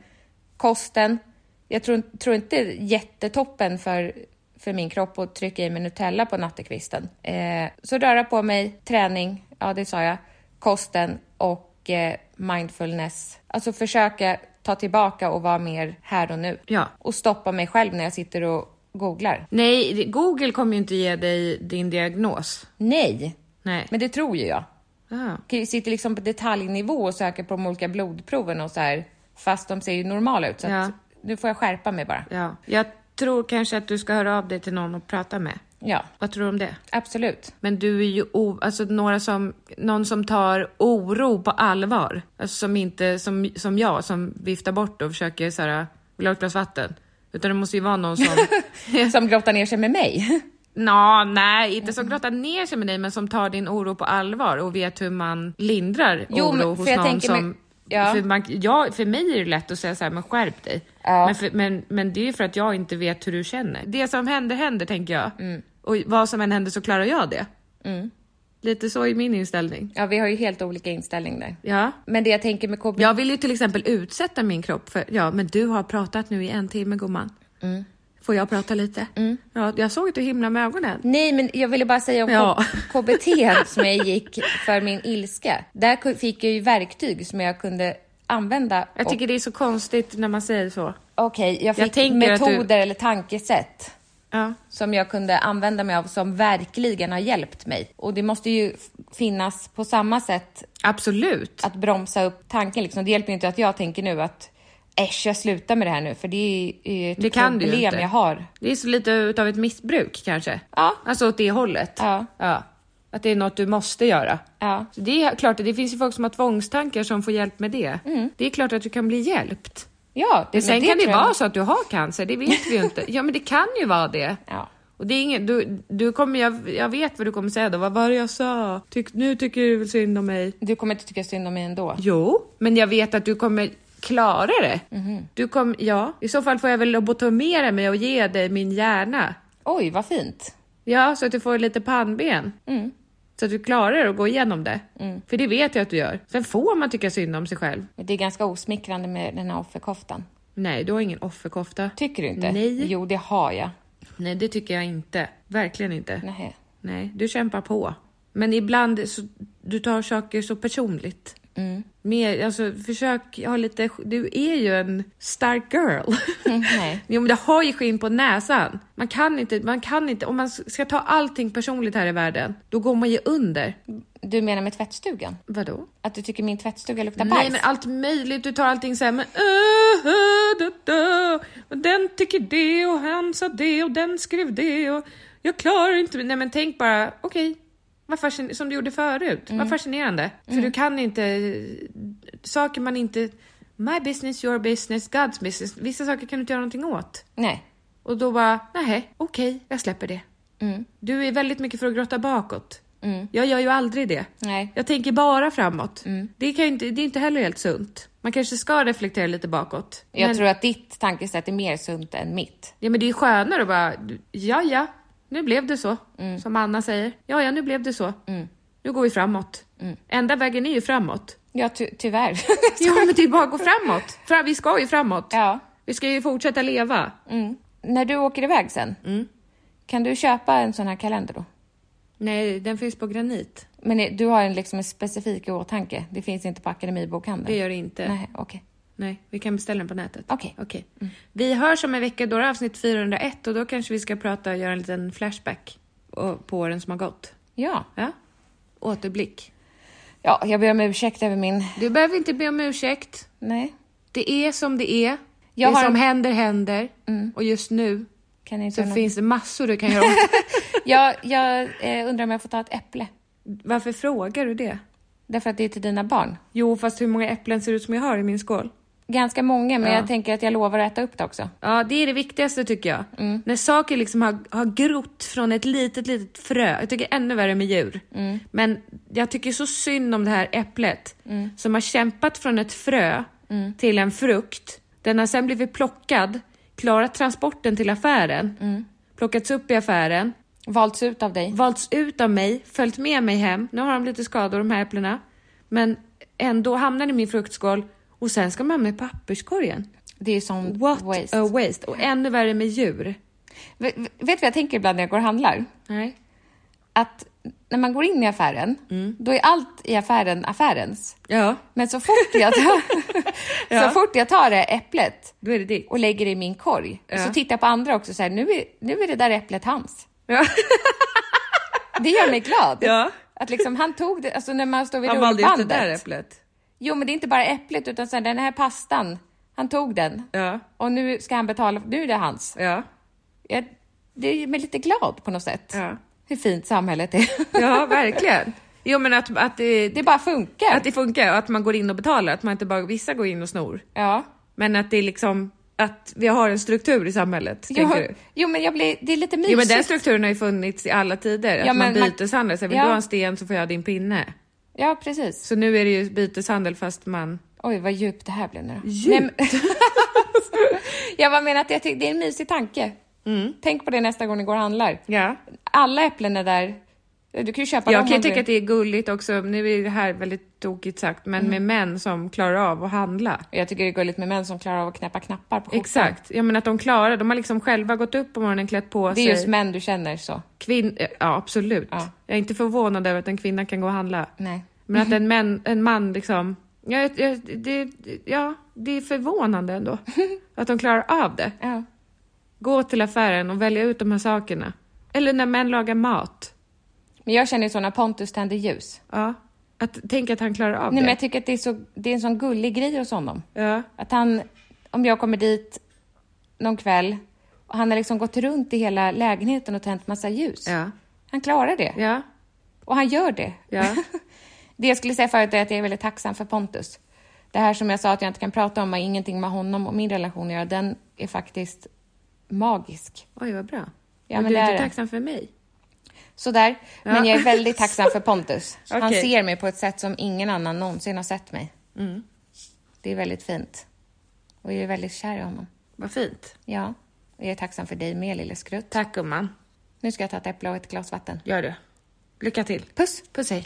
A: Kosten. Jag tror, tror inte jättetoppen för, för min kropp att trycka i mig Nutella på nattekvisten. Eh, så röra på mig, träning, ja det sa jag, kosten och eh, mindfulness. Alltså försöka ta tillbaka och vara mer här och nu.
B: Ja.
A: Och stoppa mig själv när jag sitter och googlar.
B: Nej, det- Google kommer ju inte ge dig din diagnos.
A: Nej,
B: Nej.
A: men det tror ju jag.
B: Ah.
A: K- Sitter liksom på detaljnivå och söker på de olika blodproven och så här, fast de ser ju normala ut. Så
B: Ja.
A: att nu får jag skärpa mig bara.
B: Ja. Jag tror kanske att du ska höra av dig till någon och prata med.
A: Ja,
B: Vad tror du om det?
A: absolut.
B: Men du är ju o- alltså några som, någon som tar oro på allvar. Alltså som inte, som, som jag, som viftar bort och försöker så här, vill ha ett glas vatten? Utan det måste ju vara någon som,
A: Som grottar ner sig med mig.
B: nå, nej, inte
A: Mm.
B: som grottar ner sig med dig, men som tar din oro på allvar och vet hur man lindrar
A: Jo,
B: oro
A: men-
B: hos
A: för jag
B: någon
A: tänker
B: som...
A: mig- ja.
B: För, man, ja, för mig är det lätt att säga så här, men skärp dig.
A: Ja.
B: Men, för, men, men det är ju för att jag inte vet hur du känner. Det som händer, händer tänker jag.
A: Mm.
B: Och vad som än händer så klarar jag det. Lite så är min inställning.
A: Ja, vi har ju helt olika inställning där.
B: Ja.
A: Men det jag tänker med KBT,
B: Jag vill ju till exempel utsätta min kropp för, ja men du har pratat nu i en timme gumman.
A: Mm.
B: Får jag prata lite? Ja, jag såg att du himlade med ögonen.
A: Nej, men jag ville bara säga om
B: Ja.
A: K- KBT som jag gick för min ilska. Där ku- fick jag ju verktyg som jag kunde använda.
B: Jag tycker det är så konstigt när man säger så.
A: Och- Okej, jag
B: jag
A: fick
B: tänker att du-
A: metoder eller tankesätt
B: Ja.
A: som jag kunde använda mig av som verkligen har hjälpt mig. Och det måste ju f- finnas på samma sätt
B: Absolut.
A: att bromsa upp tanken. Liksom. Det hjälper ju inte att jag tänker nu att äsch, jag slutar med det här nu, för det är ju ett
B: Det kan du ju
A: problem
B: inte.
A: jag har.
B: Det är så lite utav ett missbruk kanske.
A: Ja.
B: Alltså åt det hållet.
A: Ja.
B: Att det är något du måste göra.
A: Ja.
B: Så det är klart, det finns ju folk som har tvångstankar som får hjälp med det. Det är klart att du kan bli hjälpt.
A: Ja,
B: Mm. Men sen
A: men
B: kan det
A: tror jag-
B: vara så att du har cancer, det vet vi ju inte. Ja men det kan ju vara det.
A: Ja.
B: Och det är ingen, du, du kommer, jag, jag vet vad du kommer säga då, vad var det jag sa? Tyck, nu tycker du väl synd om mig?
A: Du kommer inte tycka synd om mig ändå.
B: Jo, men jag vet att du kommer klara det. Du kom, ja, i så fall får jag väl lobotomera mig och ge dig min hjärna.
A: Oj, vad fint.
B: Ja, så att du får lite pannben. Så att du klarar att gå igenom det. För det vet jag att du gör. Sen får man tycka synd om sig själv.
A: Men Det är ganska osmickrande med den här offerkoftan.
B: Nej, du har ingen offerkofta.
A: Tycker du inte?
B: Nej.
A: Jo, det har jag.
B: Nej, det tycker jag inte. Verkligen inte.
A: Nej.
B: Nej, du kämpar på. Men ibland så, du tar saker så personligt. Mer, alltså, försök ha lite... Du är ju en stark girl.
A: nej.
B: jo, men du har ju skinn på näsan. Man kan inte... Man kan inte om man s- ska ta allting personligt här i världen, då går man ju under.
A: Du menar med tvättstugan?
B: Vadå?
A: Att du tycker min tvättstuga luktar
B: Nej,
A: bajs?
B: men allt möjligt. Du tar allting så här, men... Uh, uh, da, da. Och den tycker det och han sa det och den skrev det och... Jag klarar inte... Nej, men tänk bara, okej. vad fascin- som du gjorde förut. Vad fascinerande. För du kan inte... Saker man inte... My business, your business, God's business. Vissa saker kan du inte göra någonting åt.
A: Nej.
B: Och då bara, nej, okej, jag släpper det. Du är väldigt mycket för att grotta bakåt. Jag gör ju aldrig det.
A: Nej.
B: Jag tänker bara framåt.
A: Mm.
B: Det, kan ju inte, det är inte heller helt sunt. Man kanske ska reflektera lite bakåt.
A: Jag
B: men,
A: tror att ditt tankesätt är mer sunt än mitt.
B: ja, men det är skönare att bara, ja, ja, nu blev det så.
A: Mm.
B: Som Anna säger, ja, ja, nu blev det så. Nu går vi framåt.
A: Mm.
B: Enda vägen är ju framåt.
A: Ja, ty- tyvärr.
B: Ja, men det är bara att gå framåt. För vi ska ju framåt.
A: Ja. Mm.
B: Vi ska ju fortsätta leva.
A: När du åker iväg sen, kan du köpa en sån här kalender då?
B: Nej, den finns på granit.
A: Men är- du har en, liksom en specifik i åtanke? Det finns inte på
B: Det
A: Akademibokhandeln?
B: gör det inte.
A: Nej, okej.
B: Nej, vi kan beställa den på nätet.
A: Okej. Mm.
B: Okej. Vi hörs om en vecka, då är det avsnitt 401 och då kanske vi ska prata och göra en liten flashback och- på åren som har gått.
A: Ja.
B: Ja? Återblick.
A: ja, jag ber om ursäkt över min...
B: Du behöver inte be om ursäkt.
A: Nej,
B: Det är som det är.
A: Jag
B: det
A: har-
B: som händer händer. Och just nu
A: kan jag inte
B: så
A: göra något?
B: finns det massor du kan göra. om.
A: Jag, jag eh, undrar om jag får ta ett äpple?
B: Varför frågar du det?
A: Därför att det är till dina barn.
B: Jo, fast hur många äpplen ser det ut som jag har i min skål?
A: Ganska många, men jag tänker att jag lovar att äta upp det också.
B: Ja, det är det viktigaste tycker jag. När saker liksom har, har grott från ett litet, litet frö. Jag tycker ännu värre med djur. Men jag tycker så synd om det här äpplet som har kämpat från ett frö till en frukt. Den har sen blivit plockad, klarat transporten till affären, plockats upp i affären,
A: Valts ut av dig.
B: valts ut av mig, följt med mig hem. Nu har de lite skador de här äpplena. Men ändå hamnar de i min fruktskål och sen ska man hamna i papperskorgen.
A: Det är ju sån
B: What
A: waste.
B: a waste! Och ännu värre med djur.
A: V- v- vet du vad jag tänker ibland när jag går och handlar?
B: Nej.
A: Att när man går in i affären, då är allt i affären affärens.
B: Mm. Ja.
A: Men så fort jag tar,
B: Ja.
A: så fort jag tar det äpplet
B: Då är det ditt.
A: och lägger det i min korg,
B: Ja.
A: så tittar jag på andra också så här, nu är, nu är det där äpplet hans.
B: Ja.
A: Det gör mig glad.
B: Ja.
A: Att liksom han tog det, alltså när man står vid
B: Han valde just det där
A: rullbandet.
B: äpplet.
A: Jo, men det är inte bara äpplet utan sen den här pastan, han tog den.
B: Ja.
A: Och nu ska han betala, nu är det hans.
B: Ja.
A: Jag, det gör mig lite glad på något sätt.
B: Ja.
A: Hur fint samhället är.
B: Ja, verkligen. Jo, men att, att, det,
A: Det bara funkar.
B: att det funkar och att man går in och betalar, att man inte bara, vissa går in och snor.
A: Ja.
B: Men att det är liksom, att vi har en struktur i samhället,
A: Jo,
B: tänker du?
A: jo, men jag blir, det är lite mysigt.
B: Jo men den strukturen har ju funnits i alla tider, att
A: Ja,
B: man
A: men man-
B: byteshandlar. Så här, vill
A: Ja.
B: du ha en sten så får jag din pinne.
A: Ja, precis.
B: Så nu är det ju byteshandel fast man...
A: Oj, vad djupt det här blev nu då. Nej, men- jag bara menar att jag tycker, det är en mysig tanke. Tänk på det nästa gång ni går och handlar.
B: Mm. Ja.
A: Alla äpplen är där. Du kan ju köpa dem
B: Jag kan ju
A: om du-
B: tycka att det är gulligt också, nu är det här väldigt tokigt sagt, men
A: Mm.
B: med män som klarar av att handla.
A: Jag tycker det är gulligt med män som klarar av att knäppa knappar på skjortan.
B: Exakt, ja men att de klarar, de har liksom själva gått upp på morgonen, klätt på
A: Det är
B: sig.
A: just män du känner så.
B: Kvin- ja absolut.
A: Ja.
B: Jag är inte förvånad över att en kvinna kan gå och handla.
A: Nej. Mm-hmm.
B: Men att en, män, en man liksom, ja, jag- jag- det, det- ja, det är förvånande ändå. att de klarar av det.
A: Ja.
B: Gå till affären och välja ut de här sakerna. Eller när män lagar mat.
A: Men jag känner ju så när Pontus tänder ljus.
B: Ja. Att, tänk att han klarar av
A: Nej, men
B: det.
A: jag tycker att det är, så, det är en sån gullig grej hos honom.
B: Ja.
A: Att han, om jag kommer dit någon kväll och han har liksom gått runt i hela lägenheten och tänt massa ljus.
B: Ja.
A: Han klarar det.
B: Ja.
A: Och han gör det.
B: Ja.
A: det jag skulle säga förut är att jag är väldigt tacksam för Pontus. Det här som jag sa att jag inte kan prata om har ingenting med honom och min relation att göra. Den är faktiskt magisk.
B: Oj, vad bra.
A: Ja,
B: men
A: men
B: du
A: det
B: är
A: är
B: inte
A: det.
B: tacksam för mig?
A: Sådär. Men jag är väldigt tacksam för Pontus. Han
B: Okej.
A: ser mig på ett sätt som ingen annan någonsin har sett mig.
B: Mm.
A: Det är väldigt fint. Och jag är väldigt kär i honom.
B: Vad fint.
A: Ja. Och jag är tacksam för dig med, lille skrutt.
B: Tack gumman.
A: Nu ska jag ta ett äpple och ett glas vatten.
B: Gör det. Lycka till.
A: Puss! Puss hej!